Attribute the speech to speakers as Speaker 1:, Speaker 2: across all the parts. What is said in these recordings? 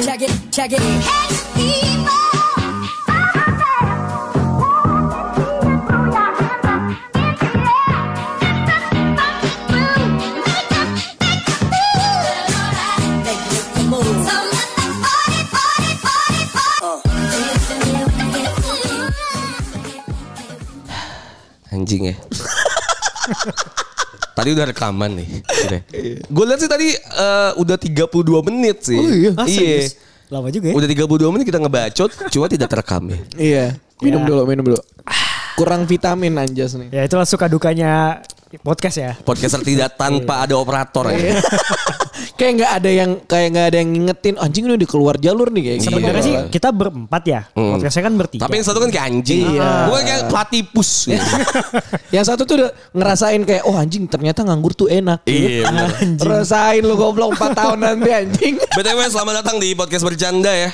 Speaker 1: 힘차게 make it the move.
Speaker 2: Anjing ya. tadi udah rekaman nih.
Speaker 3: Iya.
Speaker 2: Gue lihat sih tadi eh, udah 32 menit sih.
Speaker 4: Oh iya?
Speaker 3: Ah,
Speaker 2: iya.
Speaker 3: serius? Lama juga ya.
Speaker 2: Udah 32 menit kita ngebacot, cuma tidak terekam ya.
Speaker 4: Iya. Minum
Speaker 3: Ya.
Speaker 4: dulu, minum dulu. Kurang vitamin anjas nih.
Speaker 3: Ya itulah suka dukanya podcast ya.
Speaker 2: Podcaster tidak tanpa ada operator
Speaker 3: Iya.
Speaker 2: ya.
Speaker 4: kayak nggak ada yang kayak nggak ada yang ngingetin anjing ini udah keluar jalur nih kayak gitu.
Speaker 3: Sebenarnya sih kita berempat ya.
Speaker 2: Hmm.
Speaker 3: Podcastnya kan bertiga.
Speaker 2: Tapi yang satu kan kayak anjing.
Speaker 4: Iya.
Speaker 2: Bukan kayak platipus. gitu.
Speaker 4: Yang satu tuh udah ngerasain kayak oh anjing ternyata nganggur tuh enak. Gitu.
Speaker 2: Iya, bener.
Speaker 4: Rasain lu goblok 4 tahun nanti anjing.
Speaker 2: BTW selamat datang di podcast bercanda ya.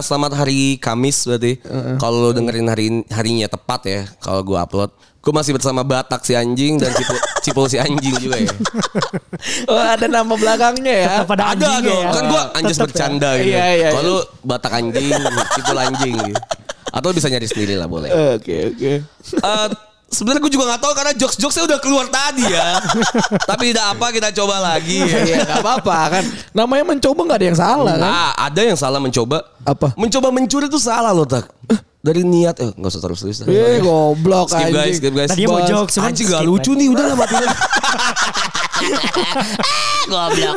Speaker 2: Eh, selamat hari Kamis berarti. Kalau lo dengerin hari harinya tepat ya. Kalau gua upload, gua masih bersama Batak si anjing dan Cipul, Cipul si anjing juga ya.
Speaker 4: Oh, ada nama belakangnya ya.
Speaker 3: Tetap ada
Speaker 2: Ada
Speaker 3: anjingnya
Speaker 2: dong.
Speaker 3: ya.
Speaker 2: Kan gua anjas
Speaker 3: Tetep
Speaker 2: bercanda
Speaker 4: ya.
Speaker 2: gitu.
Speaker 4: Iya, iya,
Speaker 2: Kalau lu Batak anjing, Cipul anjing gitu. Atau bisa nyari sendiri lah boleh.
Speaker 4: Oke, oke.
Speaker 2: Eh Sebenarnya gue juga gak tahu karena jokes-jokesnya udah keluar tadi ya. Tapi tidak apa kita coba lagi. ya.
Speaker 4: Iya, enggak apa-apa kan. Namanya mencoba nggak ada yang salah kan.
Speaker 3: Nah,
Speaker 2: Ah, ada yang salah mencoba.
Speaker 4: Apa?
Speaker 2: Mencoba mencuri itu salah loh, Tak. Dari niat eh enggak usah terus terus.
Speaker 4: Eh, goblok
Speaker 2: Skip
Speaker 4: anjing.
Speaker 2: guys, skip guys.
Speaker 3: Tadinya mau
Speaker 4: Bas,
Speaker 3: jokes. cuman
Speaker 2: Anjing gak
Speaker 3: skip
Speaker 2: lucu
Speaker 3: aja.
Speaker 2: nih, udah lah matiin aja. Goblok.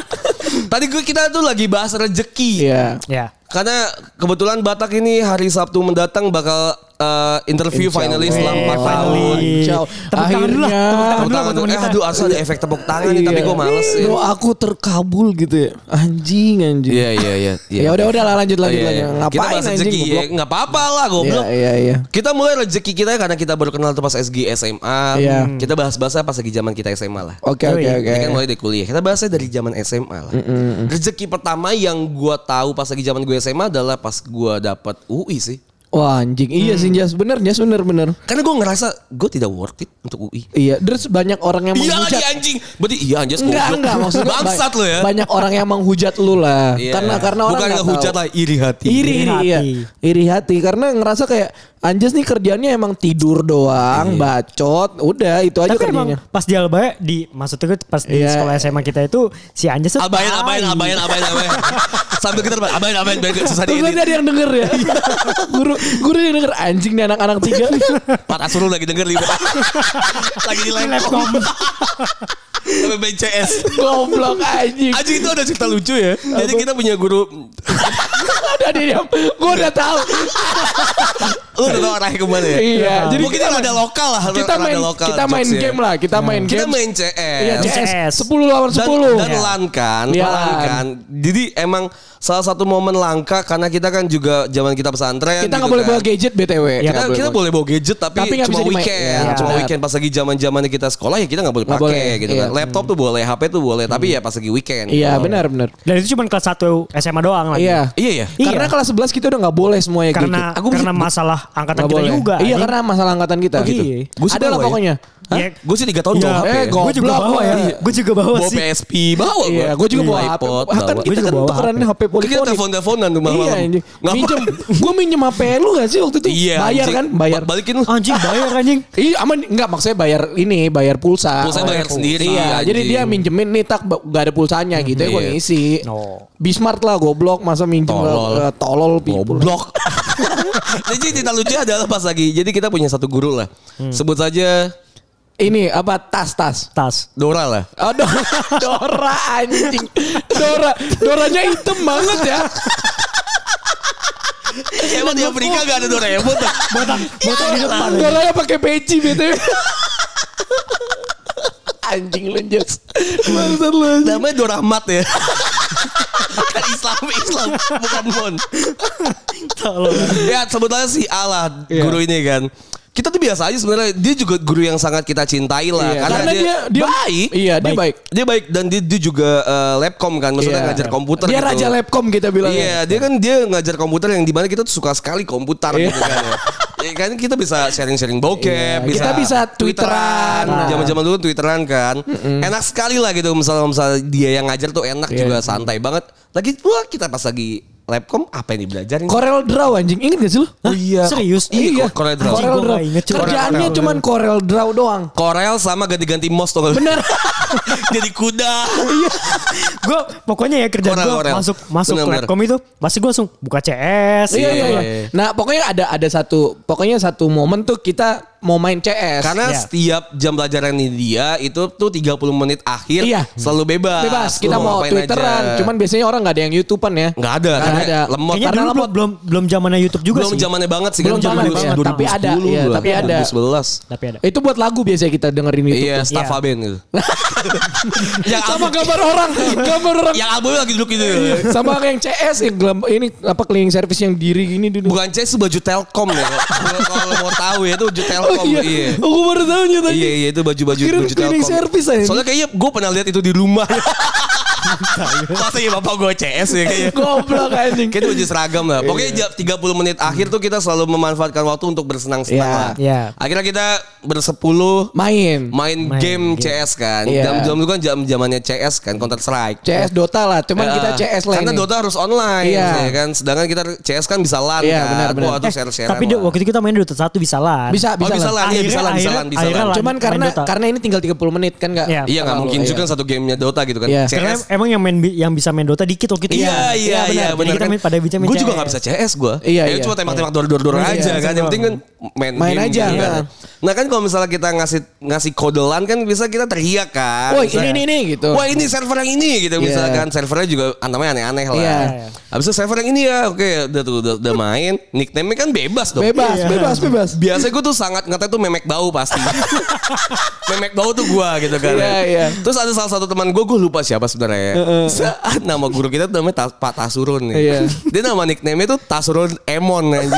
Speaker 2: Tadi gue kita tuh lagi bahas rejeki.
Speaker 4: Iya.
Speaker 3: Ya.
Speaker 2: Karena kebetulan Batak ini hari Sabtu mendatang bakal eh, interview
Speaker 4: Insya
Speaker 2: finalis
Speaker 4: Allah.
Speaker 2: selama
Speaker 3: Eh,
Speaker 2: empat
Speaker 3: finally.
Speaker 2: tahun.
Speaker 4: Jauh.
Speaker 3: Tepuk tangan dulu lah.
Speaker 4: Akhirnya.
Speaker 3: Tepuk tangan
Speaker 2: Tepuk
Speaker 3: dulu
Speaker 2: tangan
Speaker 3: buat
Speaker 2: tuh.
Speaker 3: teman
Speaker 2: Eh,
Speaker 3: kita.
Speaker 2: aduh asal ada efek tepuk tangan nih,
Speaker 4: Iya.
Speaker 2: tapi gue males sih.
Speaker 4: Doa aku terkabul gitu ya. Anjing anjing.
Speaker 2: Iya, iya, iya.
Speaker 4: Ya udah udah lah lanjut lanjut
Speaker 2: Iya,
Speaker 4: lanjut.
Speaker 2: iya.
Speaker 4: Ngapain
Speaker 2: Kita bahas
Speaker 4: anjing
Speaker 2: rezeki ya.
Speaker 4: goblok?
Speaker 2: Nggak apa-apa lah goblok.
Speaker 4: Iya iya iya.
Speaker 2: Kita mulai rezeki kita ya, karena kita baru kenal tuh pas SG SMA.
Speaker 4: Iya.
Speaker 2: Kita bahas-bahasnya pas lagi zaman kita SMA lah.
Speaker 4: Oke
Speaker 3: Yoi.
Speaker 4: oke oke.
Speaker 2: Ini kan mulai dari kuliah. Kita bahasnya dari zaman SMA lah. Rezeki pertama yang gua tahu pas lagi zaman gue SMA adalah pas gua dapat UI sih.
Speaker 4: Wah anjing. Iya
Speaker 2: Hmm.
Speaker 4: sih Jas bener Jas bener bener.
Speaker 2: Karena gua ngerasa gue tidak worth it untuk UI.
Speaker 4: Iya, terus banyak orang yang
Speaker 2: Iya
Speaker 4: menghujat.
Speaker 2: lagi anjing. Berarti iya anjing
Speaker 4: Enggak, enggak maksudnya
Speaker 2: bangsat
Speaker 4: ba-
Speaker 2: lo ya.
Speaker 4: Banyak orang yang menghujat lu lah.
Speaker 2: Iya.
Speaker 4: Karena karena orang
Speaker 2: bukan
Speaker 4: nggak
Speaker 2: ngehujat
Speaker 4: tahu.
Speaker 2: lah iri hati.
Speaker 4: Iri, iri,
Speaker 3: Iri
Speaker 4: iya.
Speaker 3: hati.
Speaker 4: iri hati karena ngerasa kayak Anjas nih kerjaannya emang tidur
Speaker 2: Iya.
Speaker 4: doang, bacot, udah itu aja
Speaker 3: Tapi emang
Speaker 4: kerjanya.
Speaker 3: pas di Alba di maksudnya gue pas di
Speaker 4: Iya.
Speaker 3: sekolah SMA kita itu si Anjas tuh
Speaker 2: Abain,
Speaker 3: tai.
Speaker 2: abain, abain, abain, abain. Sambil kita abain, abain, biar nggak susah
Speaker 4: Terus nanti
Speaker 2: diedit.
Speaker 4: ada yang denger ya. guru guru yang denger anjing nih anak-anak tiga.
Speaker 2: Pak Asrul lagi denger libur. lagi di laptop. Sampai BCS.
Speaker 4: Goblok anjing.
Speaker 2: Aji itu ada cerita lucu ya. Jadi kita punya guru
Speaker 4: Udah diam. Gue udah tahu.
Speaker 2: lu udah tau arahnya kemana ya?
Speaker 4: Iya, jadi
Speaker 2: Mungkin
Speaker 4: kita-
Speaker 2: ada lokal lah.
Speaker 4: Kita
Speaker 2: rada
Speaker 4: main
Speaker 2: lokal
Speaker 4: kita main
Speaker 2: jokes ya.
Speaker 4: game lah, kita main
Speaker 2: Kita
Speaker 4: game.
Speaker 2: main CS.
Speaker 4: Iya,
Speaker 3: CS.
Speaker 4: CS. 10 lawan 10.
Speaker 2: Dan, dan lan kan,
Speaker 4: Iya,
Speaker 2: lan
Speaker 4: lan.
Speaker 2: kan. Jadi emang salah satu momen langka karena kita kan juga zaman kita pesantren.
Speaker 4: kita
Speaker 2: gitu
Speaker 4: nggak boleh
Speaker 2: kan.
Speaker 4: bawa gadget btw
Speaker 3: Iya,
Speaker 4: Nggak
Speaker 2: Kita, kita
Speaker 4: bawa-
Speaker 2: boleh bawa gadget tapi,
Speaker 4: Tapi nggak
Speaker 2: cuma
Speaker 4: bisa dimain-
Speaker 2: weekend,
Speaker 4: Iya,
Speaker 2: cuma
Speaker 4: benar.
Speaker 2: weekend pas lagi zaman zamannya kita sekolah ya kita nggak boleh
Speaker 4: Nggak
Speaker 2: pakai
Speaker 4: boleh,
Speaker 2: gitu kan.
Speaker 4: iya. Hmm.
Speaker 2: Laptop tuh boleh, HP tuh boleh, tapi ya pas lagi weekend.
Speaker 4: iya
Speaker 2: Gitu.
Speaker 4: benar benar
Speaker 3: Dan itu cuma kelas 1 SMA doang lagi.
Speaker 4: iya
Speaker 2: Iya ya.
Speaker 3: Iya.
Speaker 4: karena kelas 11 kita udah nggak boleh semuanya
Speaker 3: Karena
Speaker 4: gadget.
Speaker 3: karena masalah angkatan
Speaker 4: gitu. nggak
Speaker 3: kita
Speaker 4: boleh
Speaker 3: juga. kan?
Speaker 4: iya
Speaker 3: anjing.
Speaker 4: karena masalah angkatan kita
Speaker 3: Oh,
Speaker 4: gitu
Speaker 3: iya.
Speaker 2: Gua sih
Speaker 4: ada lah
Speaker 2: bawa ya.
Speaker 4: pokoknya Hah?
Speaker 3: Ya,
Speaker 2: Gue sih tiga tahun
Speaker 3: Iya.
Speaker 2: bawa HP.
Speaker 4: Eh,
Speaker 2: ya.
Speaker 3: Gue juga
Speaker 4: Goblok.
Speaker 3: bawa ya. Gue juga bawa
Speaker 2: Bawa
Speaker 3: sih.
Speaker 2: PSP, bawa
Speaker 4: Iya, gue juga bawa HP.
Speaker 2: iPod,
Speaker 4: Ah, kan
Speaker 2: bawa.
Speaker 4: kita
Speaker 3: Gua juga
Speaker 4: kan
Speaker 3: bawa
Speaker 4: tukerannya HP
Speaker 2: Kita kita
Speaker 4: polifonik.
Speaker 2: telepon-telefonan tuh malam.
Speaker 4: Iya, anjing. minjem. Gue minjem HP lu gak sih waktu itu?
Speaker 2: Iya.
Speaker 4: Bayar
Speaker 2: anjing.
Speaker 4: kan? Bayar.
Speaker 2: Ba- Balikin lu.
Speaker 3: Anjing bayar anjing.
Speaker 4: Iya, aman enggak maksudnya bayar ini, bayar pulsa.
Speaker 2: Pulsa bayar sendiri,
Speaker 4: Iya,
Speaker 2: anjing.
Speaker 4: jadi dia minjemin nih tak ba- gak ada pulsanya gitu ya gue
Speaker 2: Iya.
Speaker 4: ngisi.
Speaker 3: No.
Speaker 4: Bismart lah goblok masa minjem
Speaker 2: Tolol.
Speaker 4: ke- ke tolol people.
Speaker 2: Goblok. Jadi cerita lucu adalah pas lagi. Jadi kita punya satu guru lah.
Speaker 4: Hmm.
Speaker 2: Sebut saja
Speaker 4: Ini apa tas-tas?
Speaker 3: Tas.
Speaker 2: Dora lah.
Speaker 4: Oh, Do- Dora anjing. Dora, Doranya hitam banget ya.
Speaker 2: Emang di Afrika gak ada Doraemon tuh.
Speaker 3: Botak, botak di depan. anjing.
Speaker 4: Doranya pakai peci BTW. anjing lu Jess. Bangsat lu. anjing.
Speaker 2: Namanya Dorahmat ya. kan Islam, Islam. Bukan Mon.
Speaker 3: Tolong.
Speaker 2: ya sebetulnya si Allah
Speaker 4: Iya.
Speaker 2: guru ini kan. Kita tuh biasa aja sebenarnya dia juga guru yang sangat kita cintai lah
Speaker 4: Iya,
Speaker 2: karena, dia, baik.
Speaker 4: Iya, dia baik.
Speaker 2: Dia baik dan dia, dia juga eh, lapcom kan maksudnya
Speaker 4: Iya.
Speaker 2: ngajar komputer
Speaker 4: Dia
Speaker 2: gitu.
Speaker 4: raja lapcom kita bilang. ya.
Speaker 2: Iya, dia kan dia ngajar komputer yang dimana kita tuh suka sekali komputer
Speaker 4: Iya.
Speaker 2: gitu kan ya. Ya kan kita bisa sharing-sharing
Speaker 4: Iya,
Speaker 2: bokep, bisa
Speaker 4: kita bisa twitteran. Nah.
Speaker 2: Zaman-zaman dulu twitteran kan. Enak sekali lah gitu misalnya misalnya dia yang ngajar tuh enak
Speaker 4: Iya.
Speaker 2: juga santai banget. Lagi wah kita pas lagi Labcom apa yang dibelajarin?
Speaker 4: Corel Draw anjing inget gak sih lu?
Speaker 2: Oh iya.
Speaker 3: Serius?
Speaker 2: Iya, Corel Draw.
Speaker 3: Anjing,
Speaker 4: Corel
Speaker 3: gua
Speaker 4: Draw.
Speaker 3: nggak inget, cuy.
Speaker 4: Kerjaannya
Speaker 3: Corel Draw.
Speaker 4: cuman Corel Draw doang.
Speaker 2: Corel sama ganti-ganti mos tuh. Bener. Jadi kuda.
Speaker 3: gue pokoknya ya kerjaan
Speaker 2: Korel,
Speaker 3: gue
Speaker 2: korel.
Speaker 3: masuk masuk
Speaker 2: Bener, bener.
Speaker 3: Labcom itu pasti gue langsung buka CS
Speaker 4: Iya
Speaker 2: Iya,
Speaker 4: iya
Speaker 2: iya,
Speaker 4: iya.
Speaker 2: iya.
Speaker 4: Nah pokoknya ada ada satu pokoknya satu momen tuh kita mau main CS.
Speaker 2: Karena
Speaker 3: Iya.
Speaker 2: setiap jam pelajaran ini dia itu tuh 30 menit akhir
Speaker 4: Iya.
Speaker 2: selalu bebas.
Speaker 4: bebas
Speaker 2: Lu
Speaker 4: kita mau
Speaker 2: ngapain
Speaker 4: twitteran,
Speaker 2: aja.
Speaker 4: cuman biasanya orang nggak ada yang youtubean ya.
Speaker 2: nggak ada,
Speaker 4: Nggak
Speaker 2: karena
Speaker 4: ada.
Speaker 2: lemot.
Speaker 3: kayaknya
Speaker 4: Karena
Speaker 3: dulu belum belum belum zamannya YouTube juga
Speaker 2: belum
Speaker 3: sih
Speaker 2: zamannya banget sih
Speaker 4: Belum
Speaker 2: kan
Speaker 4: zamannya
Speaker 2: 2010,
Speaker 4: banget, tapi ada,
Speaker 2: 2010
Speaker 4: iya,
Speaker 2: gua.
Speaker 4: tapi ada.
Speaker 2: 2011.
Speaker 3: tapi
Speaker 2: Eh,
Speaker 3: ada
Speaker 4: ya? Itu buat lagu biasanya kita dengerin YouTube.
Speaker 2: Iya, Ya,
Speaker 4: tuh.
Speaker 2: staff
Speaker 3: Iya.
Speaker 2: Aben gitu. yang
Speaker 4: Sama Iya.
Speaker 2: album-
Speaker 4: gambar orang,
Speaker 2: Ya.
Speaker 4: gambar orang.
Speaker 2: yang albumnya lagi duduk gitu.
Speaker 4: Sama yang CS yang gelam- ini apa cleaning service yang diri gini dulu.
Speaker 2: Bukan CS itu baju Telkom ya. Kalau- Kalau lo mau tahu ya itu baju
Speaker 4: Oh
Speaker 2: Telkom.
Speaker 4: iya.
Speaker 2: Iya.
Speaker 4: Aku baru tahu nyata.
Speaker 2: Iya iya itu baju-baju
Speaker 4: Kirain
Speaker 2: baju
Speaker 4: cleaning service aja.
Speaker 2: Soalnya kayaknya gue pernah lihat itu di rumah. Masa iya bapak gue CS ya kayaknya.
Speaker 4: Goblok anjing.
Speaker 2: Kayaknya baju seragam lah. Pokoknya
Speaker 4: Iya.
Speaker 2: jam 30 menit akhir tuh kita selalu memanfaatkan waktu untuk bersenang-senang
Speaker 4: Iya.
Speaker 2: lah.
Speaker 3: Iya.
Speaker 2: Akhirnya kita bersepuluh
Speaker 4: Main.
Speaker 2: main,
Speaker 3: Main
Speaker 2: game,
Speaker 3: game.
Speaker 2: CS kan.
Speaker 4: Iya.
Speaker 2: Jam-jam itu kan jam-jamannya CS kan, Counter Strike.
Speaker 4: CS Dota lah, cuman
Speaker 2: Ya,
Speaker 4: kita CS lain.
Speaker 2: Karena Dota harus online
Speaker 4: Iya.
Speaker 2: ya kan. Sedangkan kita CS kan bisa LAN
Speaker 4: Iya,
Speaker 2: kan.
Speaker 4: benar, benar.
Speaker 2: Wah, itu
Speaker 3: Eh,
Speaker 2: share-share.
Speaker 3: tapi dia- waktu itu kita main Dota 1 bisa lah
Speaker 4: Bisa
Speaker 2: bisa,
Speaker 4: bisa,
Speaker 2: oh, bisa
Speaker 4: lah.
Speaker 2: LAN, iya, bisa LAN, bisa
Speaker 3: Akhirnya-
Speaker 2: LAN, bisa
Speaker 3: akhirnya
Speaker 2: LAN.
Speaker 3: LAN.
Speaker 4: Cuman
Speaker 3: Main
Speaker 4: karena
Speaker 3: Dota.
Speaker 4: karena ini tinggal 30 menit kan enggak.
Speaker 3: Iya.
Speaker 2: Iya nggak mungkin juga kan satu gamenya Dota gitu kan.
Speaker 4: Iya.
Speaker 3: karena
Speaker 2: CS.
Speaker 3: emang yang main bi- yang bisa main Dota dikit waktu itu ya.
Speaker 2: Iya iya
Speaker 4: Iya,
Speaker 2: iya benar
Speaker 4: benar.
Speaker 3: Jadi kita
Speaker 2: kan.
Speaker 3: main pada bicara main
Speaker 2: Gue juga
Speaker 3: CS.
Speaker 2: nggak bisa CS gue.
Speaker 4: Iya,
Speaker 2: Ya,
Speaker 4: iya.
Speaker 2: cuma tembak-tembak dor-dor
Speaker 3: Iya,
Speaker 2: aja kan. Yang penting kan main
Speaker 4: Main
Speaker 2: game
Speaker 4: aja,
Speaker 2: gitu kan.
Speaker 4: kan.
Speaker 2: Nah kan kalau misalnya kita ngasih ngasih kodelan kan bisa kita teriak kan.
Speaker 4: Woi,
Speaker 2: Misalnya,
Speaker 4: ini ini ini gitu.
Speaker 2: Wah ini server yang ini gitu
Speaker 4: Iya.
Speaker 2: misalkan servernya juga namanya aneh-aneh lah.
Speaker 4: Iya.
Speaker 2: Habis itu server yang ini ya oke udah tuh udah, udah main nickname-nya kan bebas dong.
Speaker 4: Bebas,
Speaker 3: Iya.
Speaker 4: bebas, bebas.
Speaker 2: Biasanya gue tuh sangat ngeteh tuh memek bau pasti. memek bau tuh gue gitu kan.
Speaker 4: Iya, iya.
Speaker 2: Terus ada salah satu teman gue, gue lupa siapa sebenarnya. ya. Saat nama guru kita tuh namanya Tas- Pak Tasurun nih.
Speaker 4: Iya.
Speaker 2: Dia nama nickname-nya tuh Tasurun Emon aja.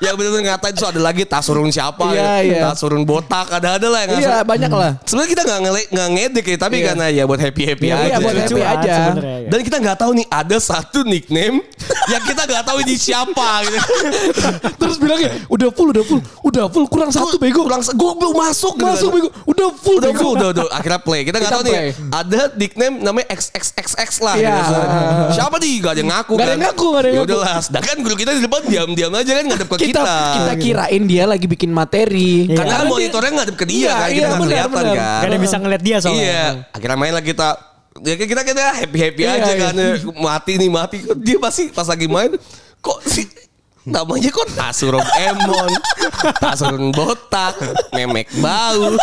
Speaker 2: yang bener-bener ngatain terus ada lagi Tasurun siapa
Speaker 4: Iya,
Speaker 2: ya.
Speaker 4: iya.
Speaker 2: Tasurun botak ada-ada lah yang ngasih.
Speaker 4: Iya, banyak lah.
Speaker 2: Sebenarnya kita nggak ngele- nggak ngedek ya, tapi
Speaker 4: Iya.
Speaker 2: karena ya buat happy happy
Speaker 4: Iya,
Speaker 2: aja.
Speaker 4: buat
Speaker 2: ya.
Speaker 4: happy aja.
Speaker 3: iya.
Speaker 2: Dan kita nggak tahu nih ada satu nickname yang kita nggak tahu ini siapa gitu.
Speaker 4: Terus bilangnya udah full, udah full, udah full kurang satu bego.
Speaker 2: Kurang se- gua belum masuk gitu
Speaker 4: Masuk
Speaker 2: kan.
Speaker 4: bego. Udah full,
Speaker 2: Udah,
Speaker 4: bego.
Speaker 2: udah, udah, udah. Akhirnya play. Kita nggak
Speaker 4: Kita
Speaker 2: tahu nih. ya.
Speaker 4: play.
Speaker 2: Ada nickname namanya XXXX lah.
Speaker 4: Iya.
Speaker 2: gitu. Siapa nih? Gak ada yang ngaku
Speaker 4: Nggak ada yang ngaku, nggak ada yang
Speaker 2: Ya udahlah. Sedangkan guru kita di depan diam-diam aja kan ngadep ke
Speaker 4: Kita Iya.
Speaker 2: kita.
Speaker 4: kita kirain dia lagi bikin materi.
Speaker 2: Karena kan
Speaker 4: Karena
Speaker 2: monitornya ngadep ke dia
Speaker 4: Iya,
Speaker 2: kan. Kita
Speaker 4: iya,
Speaker 2: nggak
Speaker 4: benar,
Speaker 2: kelihatan
Speaker 4: benar.
Speaker 2: kan.
Speaker 3: Gak ada yang bisa ngeliat dia
Speaker 4: ya
Speaker 3: soalnya
Speaker 2: Iya. Akhirnya main lah kita. Ya kita kita happy happy
Speaker 4: Hmm. Iya,
Speaker 2: aja
Speaker 4: iya.
Speaker 2: kan. Mati nih mati. Dia pasti pas lagi main kok si namanya kok Tasurum Emon, Tasurun botak, memek bau.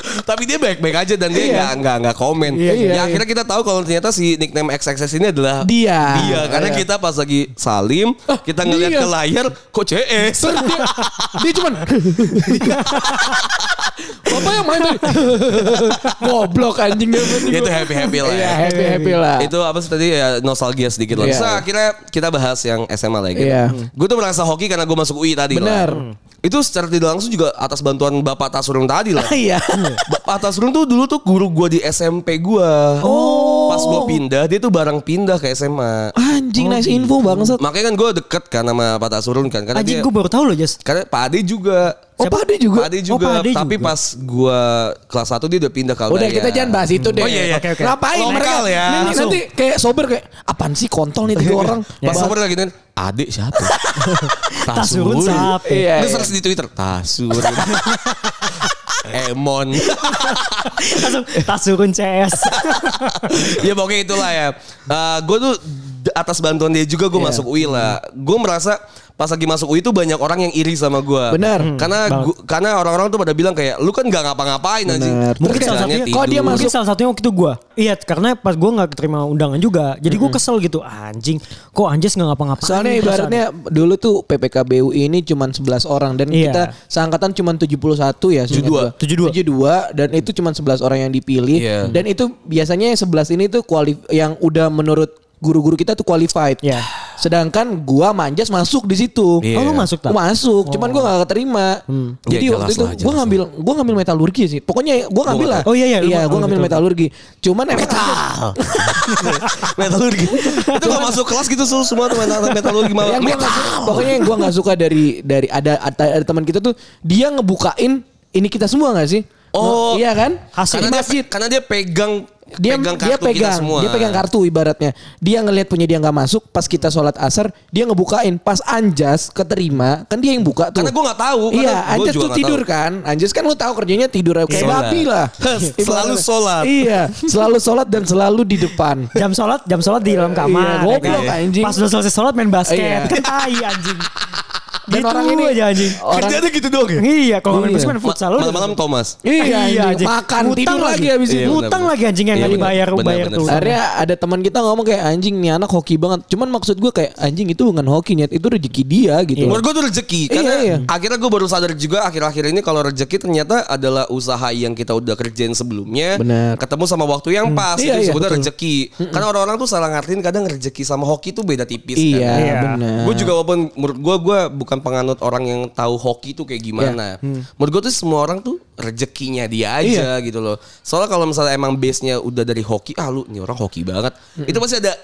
Speaker 2: Tapi dia baik-baik aja dan dia
Speaker 4: Iya.
Speaker 2: nggak nggak nggak komen.
Speaker 4: Iya, iya,
Speaker 2: ya
Speaker 4: iya.
Speaker 2: akhirnya kita tahu kalau ternyata si nickname XXS ini adalah
Speaker 4: Dia.
Speaker 2: Dia karena
Speaker 4: Iya. Oh,
Speaker 2: kita pas lagi salim, kita ngeliat
Speaker 4: dia.
Speaker 2: ke layar kok CS.
Speaker 4: Terus dia, dia cuman Bapak yang main tadi Goblok anjing dia
Speaker 2: Ya, itu happy happy lah.
Speaker 4: Iya
Speaker 2: ya.
Speaker 4: happy happy lah
Speaker 2: Itu apa sih tadi ya nostalgia sedikit lah.
Speaker 4: Iya.
Speaker 2: Terus akhirnya kita bahas yang SMA lagi. gitu.
Speaker 4: Iya.
Speaker 2: Gue tuh merasa hoki karena gue masuk UI tadi
Speaker 4: Benar.
Speaker 2: lah. Itu secara tidak langsung juga atas bantuan Bapak Tasurung tadi lah.
Speaker 4: Iya
Speaker 2: Bapak Tasurung tuh dulu tuh guru gue di SMP gue.
Speaker 4: Oh.
Speaker 2: Pas gue pindah dia tuh bareng pindah ke SMA.
Speaker 4: Anjing nice info bangsat
Speaker 2: Makanya kan gue deket kan sama Pak Tasurun kan. Karena
Speaker 3: anjing
Speaker 2: dia-
Speaker 3: gue baru tahu loh Jas
Speaker 2: karena Pak Ade juga.
Speaker 4: Oh
Speaker 3: Siapa?
Speaker 4: Pak Ade juga
Speaker 2: Pak Ade juga.
Speaker 3: Pak Ade
Speaker 2: tapi
Speaker 3: juga.
Speaker 2: pas gue kelas 1 dia udah pindah ke
Speaker 4: Udah
Speaker 2: Aldaya.
Speaker 4: kita jangan bahas itu deh
Speaker 2: iya. Oh iya iya.
Speaker 3: Oke, oke.
Speaker 4: Ngapain
Speaker 2: Lokal
Speaker 4: mereka
Speaker 2: ya.
Speaker 4: nanti,
Speaker 2: Langsung.
Speaker 4: nanti kayak sober kayak Apaan sih kontol nih tiga orang
Speaker 2: Pas
Speaker 4: Bahas-
Speaker 2: sober lagi kan adik siapa?
Speaker 3: Tasurun siapa?
Speaker 4: Iya,
Speaker 2: Lu
Speaker 4: iya.
Speaker 2: search di Twitter Tasur. Emon.
Speaker 3: langsung tasurun CS
Speaker 2: ya pokoknya itulah ya. gue tuh d- atas bantuan dia juga gue
Speaker 4: Iya.
Speaker 2: masuk UI lah. Gue merasa pas lagi masuk UI tuh banyak orang yang iri sama gue.
Speaker 4: Benar.
Speaker 2: Karena
Speaker 3: banget.
Speaker 2: gua- karena orang-orang tuh pada bilang kayak lu kan nggak ngapa-ngapain anjing.
Speaker 4: Benar.
Speaker 2: Terus
Speaker 3: Mungkin salah
Speaker 2: kerjaannya
Speaker 3: satunya-
Speaker 4: kok dia
Speaker 2: tidur.
Speaker 3: Mungkin salah satunya waktu itu gue Iya karena pas gue gak terima undangan juga Jadi gue kesel gitu Anjing Kok Anjas gak ngapa-ngapain gitu,
Speaker 4: Soalnya
Speaker 3: nih perasaan?
Speaker 4: ibaratnya dulu tuh PPKBU ini cuman 11 orang dan
Speaker 3: Iya.
Speaker 4: kita seangkatan cuman 71 ya seingat
Speaker 2: 72.
Speaker 4: gua. 72 dan itu cuman 11 orang yang dipilih
Speaker 2: Iya.
Speaker 4: dan itu biasanya yang 11 ini tuh kualif yang udah menurut guru-guru kita tuh qualified.
Speaker 3: Iya.
Speaker 4: Sedangkan gua manjas masuk di situ.
Speaker 2: Iya.
Speaker 3: Oh lu masuk tak? Oh. Hmm.
Speaker 4: Gua masuk, cuman gua gak keterima. Jadi
Speaker 2: Ya, jelas
Speaker 4: waktu itu
Speaker 2: lah, jelas
Speaker 4: gua ngambil gua ngambil metalurgi sih. Pokoknya gua ngambil lah.
Speaker 3: Oh, iya, iya, lu
Speaker 4: Iya,
Speaker 3: ngambil
Speaker 4: gua ngambil metalurgi. Cuman emang-
Speaker 2: metalurgi. Itu kalau masuk kelas gitu su- semua tuh metal- metalurgi malah
Speaker 4: yang gua nggak suka, pokoknya yang gue nggak suka dari dari ada ada, ada teman kita tuh dia ngebukain ini kita semua nggak sih
Speaker 2: Oh.
Speaker 4: iya kan
Speaker 2: Karena
Speaker 4: Di
Speaker 2: dia,
Speaker 4: masjid
Speaker 2: karena dia pegang
Speaker 4: dia
Speaker 2: Pegang kartu
Speaker 4: dia
Speaker 2: kita
Speaker 4: pegang
Speaker 2: semua.
Speaker 4: dia pegang kartu ibaratnya dia ngelihat punya dia nggak masuk pas kita sholat asar dia ngebukain pas anjas keterima kan dia yang buka tuh
Speaker 2: Karena gua nggak tahu, karena
Speaker 4: iya
Speaker 2: gua
Speaker 4: anjas
Speaker 2: juga
Speaker 4: tuh
Speaker 2: nggak
Speaker 4: tidur kan anjas kan lu tahu kerjanya tidur kayak
Speaker 2: Sholat.
Speaker 4: babi lah
Speaker 2: Selalu sholat.
Speaker 4: iya selalu sholat dan selalu di depan
Speaker 3: Jam sholat, jam sholat di dalam
Speaker 4: Iya,
Speaker 3: kamar. ya
Speaker 4: goblok,
Speaker 3: kan?
Speaker 4: anjing.
Speaker 3: Pas udah selesai sholat main
Speaker 4: Iya.
Speaker 3: basket. Kan tai anjing.
Speaker 4: Dan
Speaker 3: Gitu
Speaker 4: orang ini-
Speaker 3: aja anjing.
Speaker 4: orang
Speaker 2: Kerjanya gitu doang ya?
Speaker 3: Iya, kalau main
Speaker 4: Iya.
Speaker 3: basket main futsal. lu-
Speaker 2: Malam-malam Thomas.
Speaker 4: Iya, anjing. Makan, tidur lagi habis
Speaker 2: itu. Iya, benar,
Speaker 3: Utang
Speaker 2: benar.
Speaker 3: lagi anjing yang
Speaker 2: Iya,
Speaker 3: nggak
Speaker 2: benar.
Speaker 3: dibayar,
Speaker 2: Benar,
Speaker 3: bayar
Speaker 2: benar.
Speaker 3: tuh.
Speaker 4: Akhirnya ada teman kita ngomong kayak anjing nih anak hoki banget. Cuman maksud gue kayak anjing itu bukan hoki niat itu rezeki dia gitu.
Speaker 2: Iya. Menurut gue tuh rezeki karena
Speaker 4: Iya, iya.
Speaker 2: akhirnya gue baru sadar juga akhir-akhir ini kalau rezeki ternyata adalah usaha yang kita udah kerjain sebelumnya,
Speaker 4: Benar.
Speaker 2: ketemu sama waktu yang pas
Speaker 4: Iya, iya,
Speaker 2: itu sebetulnya
Speaker 4: betul. Hmm.
Speaker 2: rezeki. Karena orang-orang tuh salah ngartiin kadang rezeki sama hoki tuh beda tipis.
Speaker 4: Iya,
Speaker 3: Iya.
Speaker 4: benar.
Speaker 2: Gue juga walaupun menurut gue gue bukan penganut orang yang tahu hoki tuh
Speaker 4: Iya.
Speaker 2: kayak gimana.
Speaker 4: Hmm.
Speaker 2: Menurut gue tuh semua orang tuh rezekinya dia
Speaker 4: Iya.
Speaker 2: aja gitu loh. Soalnya kalau misalnya emang base-nya udah dari hoki, ah lu ini orang hoki banget.
Speaker 4: Hmm.
Speaker 2: Itu pasti ada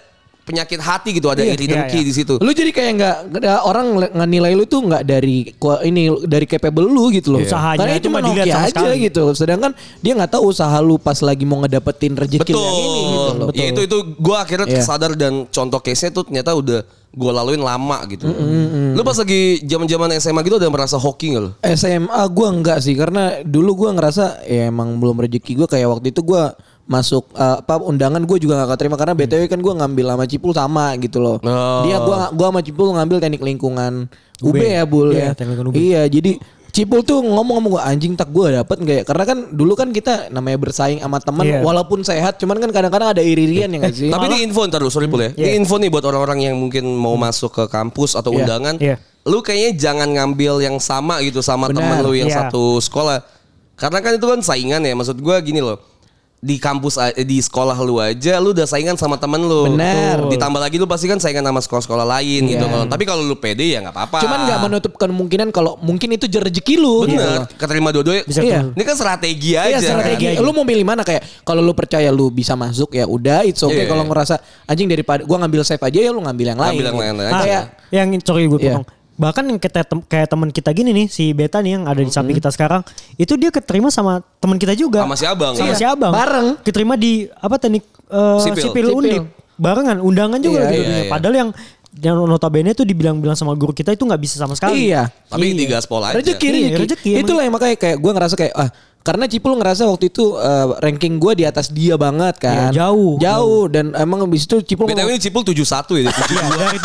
Speaker 2: penyakit hati gitu, ada iri
Speaker 3: iya,
Speaker 2: dengki
Speaker 3: iya.
Speaker 2: di situ.
Speaker 4: Lu jadi kayak nggak nggak- orang ngel- ngenilai lu tuh nggak dari ku- ini dari capable lu
Speaker 2: Iya.
Speaker 4: gitu loh.
Speaker 3: Usahanya
Speaker 4: Karena
Speaker 3: itu
Speaker 4: itu cuma
Speaker 3: nggak dilihat
Speaker 4: hoki
Speaker 3: sama
Speaker 4: aja
Speaker 3: sekali.
Speaker 4: gitu. Sedangkan dia nggak tahu usaha lu pas lagi mau ngedapetin rezeki
Speaker 2: Betul.
Speaker 4: yang ini gitu loh.
Speaker 2: Ya itu itu gue akhirnya
Speaker 4: Iya.
Speaker 2: sadar dan contoh case-nya tuh ternyata udah gue laluin lama gitu. Lu pas lagi zaman-zaman SMA gitu udah merasa hoki gak lu?
Speaker 4: SMA gua enggak sih karena dulu gua ngerasa ya emang belum rezeki gua kayak waktu itu gua masuk eh, apa undangan gue juga gak keterima karena BTW kan gua ngambil sama Cipul sama gitu loh.
Speaker 2: Oh.
Speaker 4: Dia gua gua sama Cipul ngambil teknik lingkungan UB,
Speaker 3: UB.
Speaker 4: ya Bul
Speaker 3: Iya,
Speaker 4: ya.
Speaker 3: teknik lingkungan UB.
Speaker 4: Iya, jadi Cipul tuh ngomong sama gua anjing tak gua dapet nggak ya? Karena kan dulu kan kita namanya bersaing sama teman
Speaker 3: Iya.
Speaker 4: walaupun sehat cuman kan kadang-kadang ada iri-irian ya nggak sih?
Speaker 2: Tapi di info ntar lu, sorry Pul ya. Ini
Speaker 3: Iya.
Speaker 2: info nih buat orang-orang yang mungkin mau masuk ke kampus atau
Speaker 4: Iya.
Speaker 2: undangan.
Speaker 3: Iya.
Speaker 2: Lu kayaknya jangan ngambil yang sama gitu sama
Speaker 4: Benar.
Speaker 2: temen lu yang
Speaker 3: Iya.
Speaker 2: satu sekolah. Karena kan itu kan saingan ya. Maksud gua gini loh. Di kampus a- di sekolah lu aja lu udah saingan sama temen lu.
Speaker 4: Benar.
Speaker 2: Betul. Ditambah lagi lu pasti kan saingan sama sekolah-sekolah lain gitu. Kalau tapi kalau lu pede ya nggak apa-apa.
Speaker 4: Cuman nggak menutup kemungkinan kalau mungkin itu rezeki lu gitu loh.
Speaker 2: Bener, keterima dua-duanya.
Speaker 3: Bisa
Speaker 4: Iya.
Speaker 2: Ini kan strategi aja.
Speaker 4: Iya strategi.
Speaker 2: kan.
Speaker 4: Lu mau milih mana kayak kalau lu percaya lu bisa masuk ya udah it's okay.
Speaker 2: Iya.
Speaker 4: Kalau ngerasa anjing daripada gua ngambil safe aja ya lu ngambil yang lain.
Speaker 2: Ngambil yang lain aja.
Speaker 3: Ah,
Speaker 4: Kayak
Speaker 3: yang sorry gue
Speaker 4: Iya.
Speaker 3: potong. Bahkan yang kita tem- kayak teman kita gini nih si Beta nih yang ada di samping
Speaker 4: Mm-hmm.
Speaker 3: kita sekarang, itu dia keterima sama teman kita juga.
Speaker 2: Sama si Abang. Iya.
Speaker 3: Sama si Abang.
Speaker 4: Bareng.
Speaker 3: Keterima di apa teknik eh,
Speaker 2: Sipil.
Speaker 3: sipil,
Speaker 4: Sipil.
Speaker 3: Undip. Barengan undangan juga
Speaker 4: Iya,
Speaker 3: gitu.
Speaker 2: iya, iya.
Speaker 3: Padahal yang yang notabene tuh dibilang-bilang sama guru kita itu nggak bisa sama sekali.
Speaker 4: Iya.
Speaker 2: Kan. Tapi di gaspol aja.
Speaker 4: rezeki,
Speaker 3: Iya,
Speaker 4: rezeki.
Speaker 3: rezeki emang.
Speaker 4: Itulah yang makanya kayak gua ngerasa kayak ah karena Cipul ngerasa waktu itu eh, ranking gua di atas dia banget kan.
Speaker 3: Iya, jauh.
Speaker 4: Jauh dan emang habis itu Cipul
Speaker 2: BTW ini Cipul 71 ya. dia 72.
Speaker 3: Iya, Dari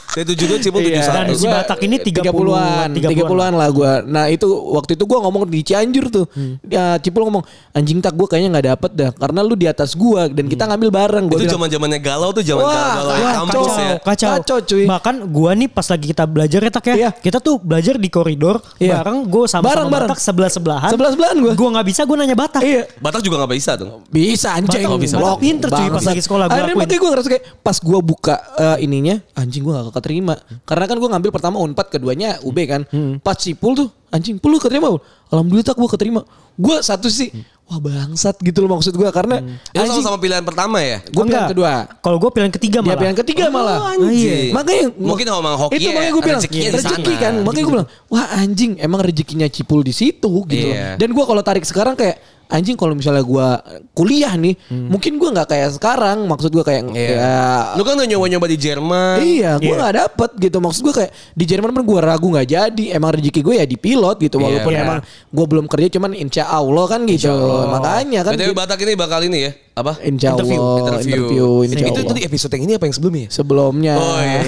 Speaker 3: 72.
Speaker 2: Dia 72 Cipul
Speaker 4: Iya.
Speaker 2: 71.
Speaker 3: Dan si
Speaker 4: Gua
Speaker 3: Batak ini
Speaker 4: 30-an,
Speaker 3: 30-an,
Speaker 4: 30-an lah gua. Nah, itu waktu itu gua ngomong di Cianjur tuh.
Speaker 2: Hmm.
Speaker 4: Ya, Cipul ngomong, "Anjing tak gua kayaknya nggak dapet dah karena lu di atas gua dan kita ngambil bareng." Gua
Speaker 2: Hmm. itu
Speaker 4: bilang,
Speaker 2: zaman zamannya galau tuh zaman
Speaker 4: Wah,
Speaker 2: galau
Speaker 4: wah,
Speaker 2: kampus
Speaker 4: kacau.
Speaker 2: ya.
Speaker 3: Kacau.
Speaker 4: Kacau, cuy.
Speaker 3: Bahkan gua nih pas lagi kita belajar ya tak ya.
Speaker 4: Iya.
Speaker 3: Kita tuh belajar di koridor
Speaker 4: Iya.
Speaker 3: bareng gue sama,
Speaker 4: Bareng,
Speaker 3: sama
Speaker 4: bareng.
Speaker 3: Batak sebelah-sebelahan.
Speaker 4: Sebelah-sebelahan gua.
Speaker 3: Gua nggak bisa gue nanya Batak.
Speaker 4: Iya.
Speaker 2: Batak juga nggak bisa tuh.
Speaker 4: Bisa anjing.
Speaker 3: Batak- Batak
Speaker 4: Blok.
Speaker 3: pinter, cuy, pas
Speaker 4: Bangsat.
Speaker 3: lagi sekolah, gua
Speaker 4: Akhirnya
Speaker 3: akuin.
Speaker 4: makanya gue ngerasa kayak pas gue buka eh, ininya anjing gue gak keterima. Karena kan gue ngambil pertama Unpad keduanya UB kan.
Speaker 3: Hmm.
Speaker 4: Pas Cipul tuh anjing pul lu keterima. Pul?" Alhamdulillah gue keterima. Gue satu sih
Speaker 3: Hmm.
Speaker 4: wah bangsat gitu loh maksud gue karena
Speaker 2: Itu
Speaker 4: anjing
Speaker 2: sama-sama pilihan pertama ya.
Speaker 4: gue pilihan
Speaker 3: Ya, Enggak.
Speaker 4: kedua.
Speaker 3: Kalau gue pilihan ketiga
Speaker 4: Dia
Speaker 3: malah. Oh,
Speaker 4: pilihan ketiga malah.
Speaker 2: anjing.
Speaker 4: Iya. Makanya
Speaker 2: Iya. Eh, Mungkin sama hoki
Speaker 4: Itu
Speaker 2: ya,
Speaker 4: makanya gue bilang
Speaker 2: rezekinya di
Speaker 4: rezeki
Speaker 2: sana.
Speaker 4: kan. Makanya gue bilang wah anjing emang rezekinya Cipul di situ gitu. loh.
Speaker 2: Iya.
Speaker 4: Dan gue kalau tarik sekarang kayak anjing kalau misalnya gue kuliah nih
Speaker 2: Hmm.
Speaker 4: mungkin gue nggak kayak sekarang maksud gue kayak ya
Speaker 2: Lu kan udah nyoba-nyoba di Jerman.
Speaker 4: Iya, gue
Speaker 3: Iya.
Speaker 4: nggak dapet gitu. Maksud gue kayak di Jerman pun gue ragu nggak jadi. Emang rezeki gue ya di pilot gitu.
Speaker 2: Iya,
Speaker 4: Walaupun
Speaker 2: benar.
Speaker 4: emang gue belum kerja, cuman insya Allah kan gitu. Makanya kan.
Speaker 2: BTW
Speaker 4: gitu.
Speaker 2: Batak ini bakal ini ya. Apa?
Speaker 4: Insya Allah,
Speaker 2: Interview.
Speaker 4: interview, insya
Speaker 2: Itu
Speaker 4: Allah.
Speaker 2: tadi episode yang ini apa yang sebelumnya? ya?
Speaker 4: Sebelumnya.
Speaker 2: Oh iya.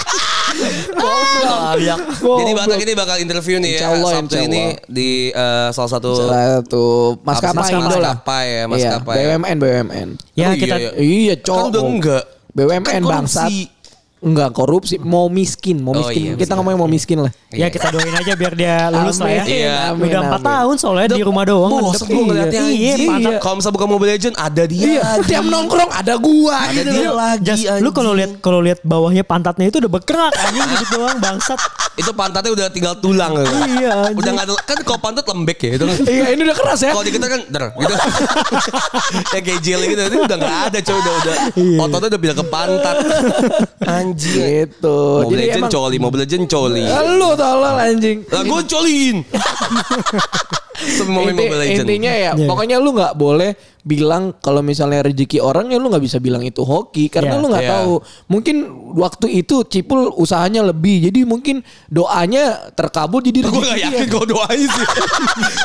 Speaker 2: Jadi Batak ini bakal interview nih ya
Speaker 4: Insya Allah,
Speaker 2: Sabtu
Speaker 4: insya Allah.
Speaker 2: ini di eh, salah satu
Speaker 4: Salah tuh maskapai
Speaker 2: Maskapai,
Speaker 4: Indo lah.
Speaker 2: maskapai ya,
Speaker 4: Iya,
Speaker 2: maskapai ya.
Speaker 4: BUMN, BUMN.
Speaker 3: Ya
Speaker 2: Oh,
Speaker 3: kita
Speaker 2: iya, iya.
Speaker 4: Iya, cowok.
Speaker 2: Kan udah enggak. Kan
Speaker 4: BUMN
Speaker 2: korupsi.
Speaker 4: bangsat. Enggak korupsi, mau miskin,
Speaker 2: Oh,
Speaker 4: mau
Speaker 2: iya,
Speaker 4: miskin.
Speaker 2: benar.
Speaker 4: Kita ngomongnya mau miskin lah.
Speaker 3: ya kita doain aja biar dia lulus lah
Speaker 2: Iya.
Speaker 3: ya.
Speaker 4: Iya. amin,
Speaker 3: Udah 4
Speaker 4: amin.
Speaker 3: tahun soalnya di rumah doang.
Speaker 2: Bosan gue ngeliatnya
Speaker 3: Iya,
Speaker 2: anjing.
Speaker 3: mantap.
Speaker 2: Kalau misalnya buka Mobile Legends ada dia.
Speaker 4: Iya, tiap nongkrong ada gua
Speaker 2: Ada
Speaker 4: gitu.
Speaker 2: dia lagi
Speaker 3: Just, lu
Speaker 2: anjing.
Speaker 3: kalau lihat kalau lihat bawahnya pantatnya itu udah bergerak anjing gitu doang bangsat.
Speaker 2: itu pantatnya udah tinggal tulang gitu.
Speaker 3: Iya, anjing.
Speaker 2: udah nggak ada kan kalau pantat lembek ya itu kan.
Speaker 4: Iya, ini udah keras ya.
Speaker 2: kalau di kita kan der gitu ya kayak jelly gitu ini udah nggak ada coy udah udah
Speaker 4: Iya.
Speaker 2: ototnya udah pindah ke pantat anjing
Speaker 4: Gitu.
Speaker 2: Mobile
Speaker 4: Jadi
Speaker 2: Legend
Speaker 4: emang
Speaker 2: coli Mobile Legend coli
Speaker 4: Ah, Lu tolol anjing.
Speaker 2: lah gue coliin Semua main
Speaker 4: Inti-
Speaker 2: Mobile Legends.
Speaker 4: Intinya ya,
Speaker 3: Iya.
Speaker 4: pokoknya lu nggak boleh bilang kalau misalnya rezeki orang ya lu nggak bisa bilang itu hoki karena
Speaker 3: Iya.
Speaker 4: lu nggak
Speaker 2: Iya.
Speaker 4: tahu. Mungkin waktu itu Cipul usahanya lebih, jadi mungkin doanya terkabul jadi
Speaker 2: Gue
Speaker 4: rezeki.
Speaker 2: gak
Speaker 4: dia.
Speaker 2: yakin kalau doanya sih.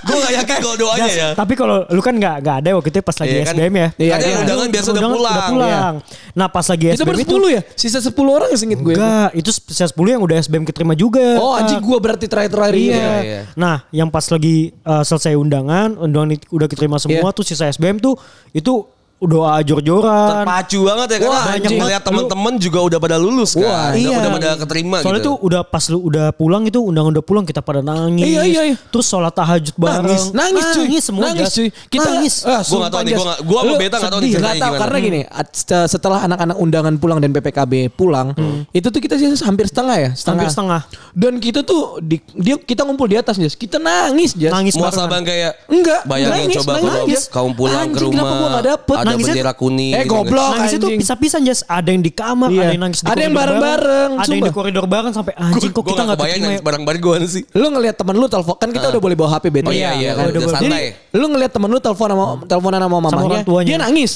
Speaker 2: gue gak yakin kalau doanya ya.
Speaker 3: Tapi kalau lu kan nggak nggak ada waktu itu pas lagi
Speaker 2: Iya kan?
Speaker 3: SBM ya.
Speaker 4: Oh, Iya,
Speaker 2: Kan yang
Speaker 4: iya.
Speaker 2: undangan biasa udah
Speaker 3: Undangan
Speaker 2: pulang.
Speaker 3: Nah pas lagi
Speaker 4: Kita
Speaker 3: SBM itu
Speaker 4: bersepuluh ya, sisa 10 orang ya singit gue.
Speaker 3: Enggak, itu spesial 10 yang udah SBM keterima juga.
Speaker 4: Oh anjing gue berarti terakhir-terakhir
Speaker 3: Iya.
Speaker 4: ini.
Speaker 2: iya.
Speaker 3: Nah, yang pas lagi uh, selesai undangan, undangan itu udah keterima semua
Speaker 4: Iya.
Speaker 3: tuh sisa SBM tuh itu doa jor-joran.
Speaker 2: Terpacu banget ya karena
Speaker 3: Wah,
Speaker 2: banyak
Speaker 3: anjing.
Speaker 2: ngeliat teman-teman juga udah pada lulus kan.
Speaker 4: Wah,
Speaker 2: udah,
Speaker 3: iya.
Speaker 2: udah pada keterima
Speaker 3: Soalnya
Speaker 2: gitu.
Speaker 3: tuh udah pas lu udah pulang itu undangan udah pulang kita pada nangis.
Speaker 4: Iya, iya, iya.
Speaker 3: Terus sholat tahajud bareng.
Speaker 4: Nangis, nangis cuy.
Speaker 3: Nangis semua.
Speaker 4: Nangis
Speaker 3: Jas.
Speaker 4: cuy. Kita
Speaker 3: nangis.
Speaker 4: Ah,
Speaker 2: Gua nggak tahu nih, gua nggak- gua sama
Speaker 4: Lu
Speaker 2: Beta nggak tahu nih
Speaker 4: sedih.
Speaker 2: ceritanya
Speaker 4: Nggak tahu,
Speaker 2: gimana.
Speaker 4: karena gini, at- se- setelah anak-anak undangan pulang dan PPKB pulang,
Speaker 2: Hmm.
Speaker 4: itu tuh kita sih hampir setengah ya, setengah.
Speaker 3: Hampir setengah.
Speaker 4: Dan kita tuh di, dia kita ngumpul di atas, Jas. Kita nangis, Jas.
Speaker 3: Nangis
Speaker 2: Muasabah kayak
Speaker 4: Enggak,
Speaker 2: bayangin
Speaker 4: nangis,
Speaker 2: coba
Speaker 4: nangis,
Speaker 2: kalau
Speaker 4: nangis.
Speaker 2: kaum pulang ke
Speaker 4: Anjing, kenapa
Speaker 2: rumah
Speaker 4: gua nggak dapet?
Speaker 2: ada
Speaker 3: Nangisnya-
Speaker 2: bendera kuning gitu kan.
Speaker 4: Eh, goblok. Blok,
Speaker 3: Nangisnya tuh
Speaker 4: anjing.
Speaker 3: pisah-pisah Jas. Ada yang di kamar,
Speaker 4: Iya.
Speaker 3: ada yang nangis
Speaker 4: Ada
Speaker 3: di
Speaker 4: yang
Speaker 3: koridor
Speaker 4: bareng-bareng,
Speaker 3: Ada yang di
Speaker 4: sumpah.
Speaker 3: koridor bareng sampai anjing kok kita nggak keterima ya.
Speaker 2: bareng-bareng gue sih.
Speaker 4: Lu ngelihat teman lu telepon kan kita udah boleh bawa HP Beta.
Speaker 2: Oh iya, iya,
Speaker 4: kan?
Speaker 2: udah
Speaker 4: Jadi,
Speaker 2: santai.
Speaker 4: Lu ngelihat teman lu telepon sama teleponan sama mamanya,
Speaker 3: orang tuanya.
Speaker 4: dia nangis.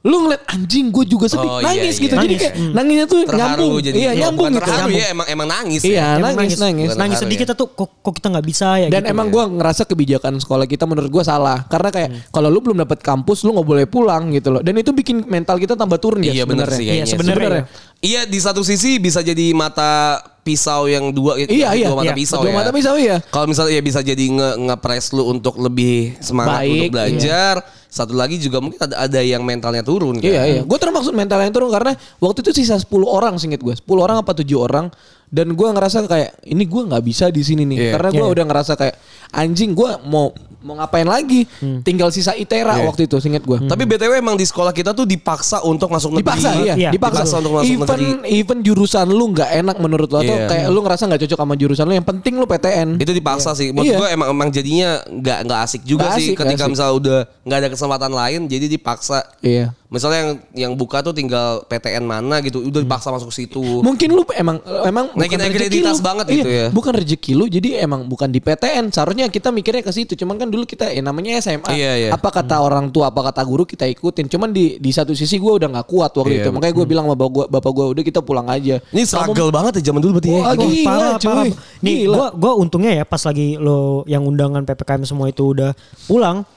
Speaker 4: Lu ngelihat anjing gue juga sedih,
Speaker 2: Hmm. Oh, iya,
Speaker 4: nangis
Speaker 2: iya.
Speaker 4: gitu. Jadi
Speaker 3: Nangis.
Speaker 4: kayak nangisnya tuh
Speaker 2: Terharu
Speaker 4: nyambung.
Speaker 2: jadi.
Speaker 4: Iya,
Speaker 2: Bukan
Speaker 4: nyambung gitu.
Speaker 2: Terharu
Speaker 4: Nyambung.
Speaker 2: ya emang emang nangis
Speaker 4: Iya,
Speaker 2: ya.
Speaker 3: Emang
Speaker 4: nangis, nangis.
Speaker 2: Bukan
Speaker 3: Nangis
Speaker 2: haru
Speaker 3: sedih
Speaker 2: ya.
Speaker 3: kita tuh kok, kok kita nggak bisa ya
Speaker 4: Dan
Speaker 3: gitu.
Speaker 4: emang gua ngerasa kebijakan sekolah kita menurut gua salah karena kayak
Speaker 2: Hmm.
Speaker 4: kalau lu belum dapat kampus lu nggak boleh pulang gitu loh. Dan itu bikin mental kita tambah turun ya
Speaker 2: Iya benar sih
Speaker 4: sebenarnya.
Speaker 3: Iya,
Speaker 2: kayaknya sih.
Speaker 3: sebenarnya.
Speaker 4: Sebenarnya.
Speaker 2: Iya di satu sisi bisa jadi mata pisau yang dua
Speaker 4: Iya, iya,
Speaker 2: dua mata
Speaker 4: iya.
Speaker 2: pisau ya.
Speaker 4: Dua mata pisau, iya.
Speaker 2: Kalau misalnya ya bisa jadi nge ngepres lu untuk lebih semangat
Speaker 4: Baik, iya.
Speaker 2: untuk belajar. Satu lagi juga mungkin ada ada yang mentalnya turun kan.
Speaker 4: Iya iya. Gue termaksud mentalnya turun karena waktu itu sisa 10 orang singkat gue. 10 orang apa 7 orang dan gue ngerasa kayak ini gue nggak bisa di sini nih
Speaker 2: Iya.
Speaker 4: karena gue
Speaker 3: Iya.
Speaker 4: udah ngerasa kayak anjing gue mau mau ngapain lagi tinggal sisa itera
Speaker 2: Hmm. Iya.
Speaker 4: waktu itu singkat gue.
Speaker 2: Tapi BTW emang di sekolah kita tuh dipaksa untuk masuk negeri.
Speaker 4: Dipaksa iya,
Speaker 3: Iya,
Speaker 4: dipaksa.
Speaker 2: dipaksa untuk masuk
Speaker 4: even, even jurusan lu nggak enak menurut lo atau
Speaker 2: Iya.
Speaker 4: kayak lu ngerasa nggak cocok sama jurusan lu yang penting lu PTN.
Speaker 2: Itu dipaksa sih. Menurut
Speaker 4: Iya.
Speaker 2: gue emang emang jadinya nggak nggak asik juga
Speaker 4: Nggak
Speaker 2: sih
Speaker 4: asik, nggak
Speaker 2: ketika
Speaker 4: asik.
Speaker 2: misalnya udah nggak ada kesempatan lain jadi dipaksa.
Speaker 4: Iya.
Speaker 2: Misalnya yang yang buka tuh tinggal PTN mana gitu, udah dipaksa masuk ke situ.
Speaker 4: Mungkin lu emang emang
Speaker 2: Naikin agreditas banget gitu ya.
Speaker 4: Iya, Bukan rezeki lu jadi emang bukan di PTN. Seharusnya kita mikirnya ke situ. Cuman kan dulu kita ya namanya SMA.
Speaker 2: Iya, iya.
Speaker 4: Apa kata orang tua, apa kata guru kita ikutin. Cuman di di satu sisi gue udah nggak kuat waktu
Speaker 2: Iya,
Speaker 4: itu. Makanya gue bilang sama bapak gue, bapak gue udah kita pulang aja.
Speaker 2: Ini struggle banget ya zaman dulu berarti ya.
Speaker 4: Wah,
Speaker 3: Wah,
Speaker 4: gila, cuy.
Speaker 3: Nih,
Speaker 4: Gila.
Speaker 3: gua gua untungnya ya pas lagi lo yang undangan PPKM semua itu udah pulang.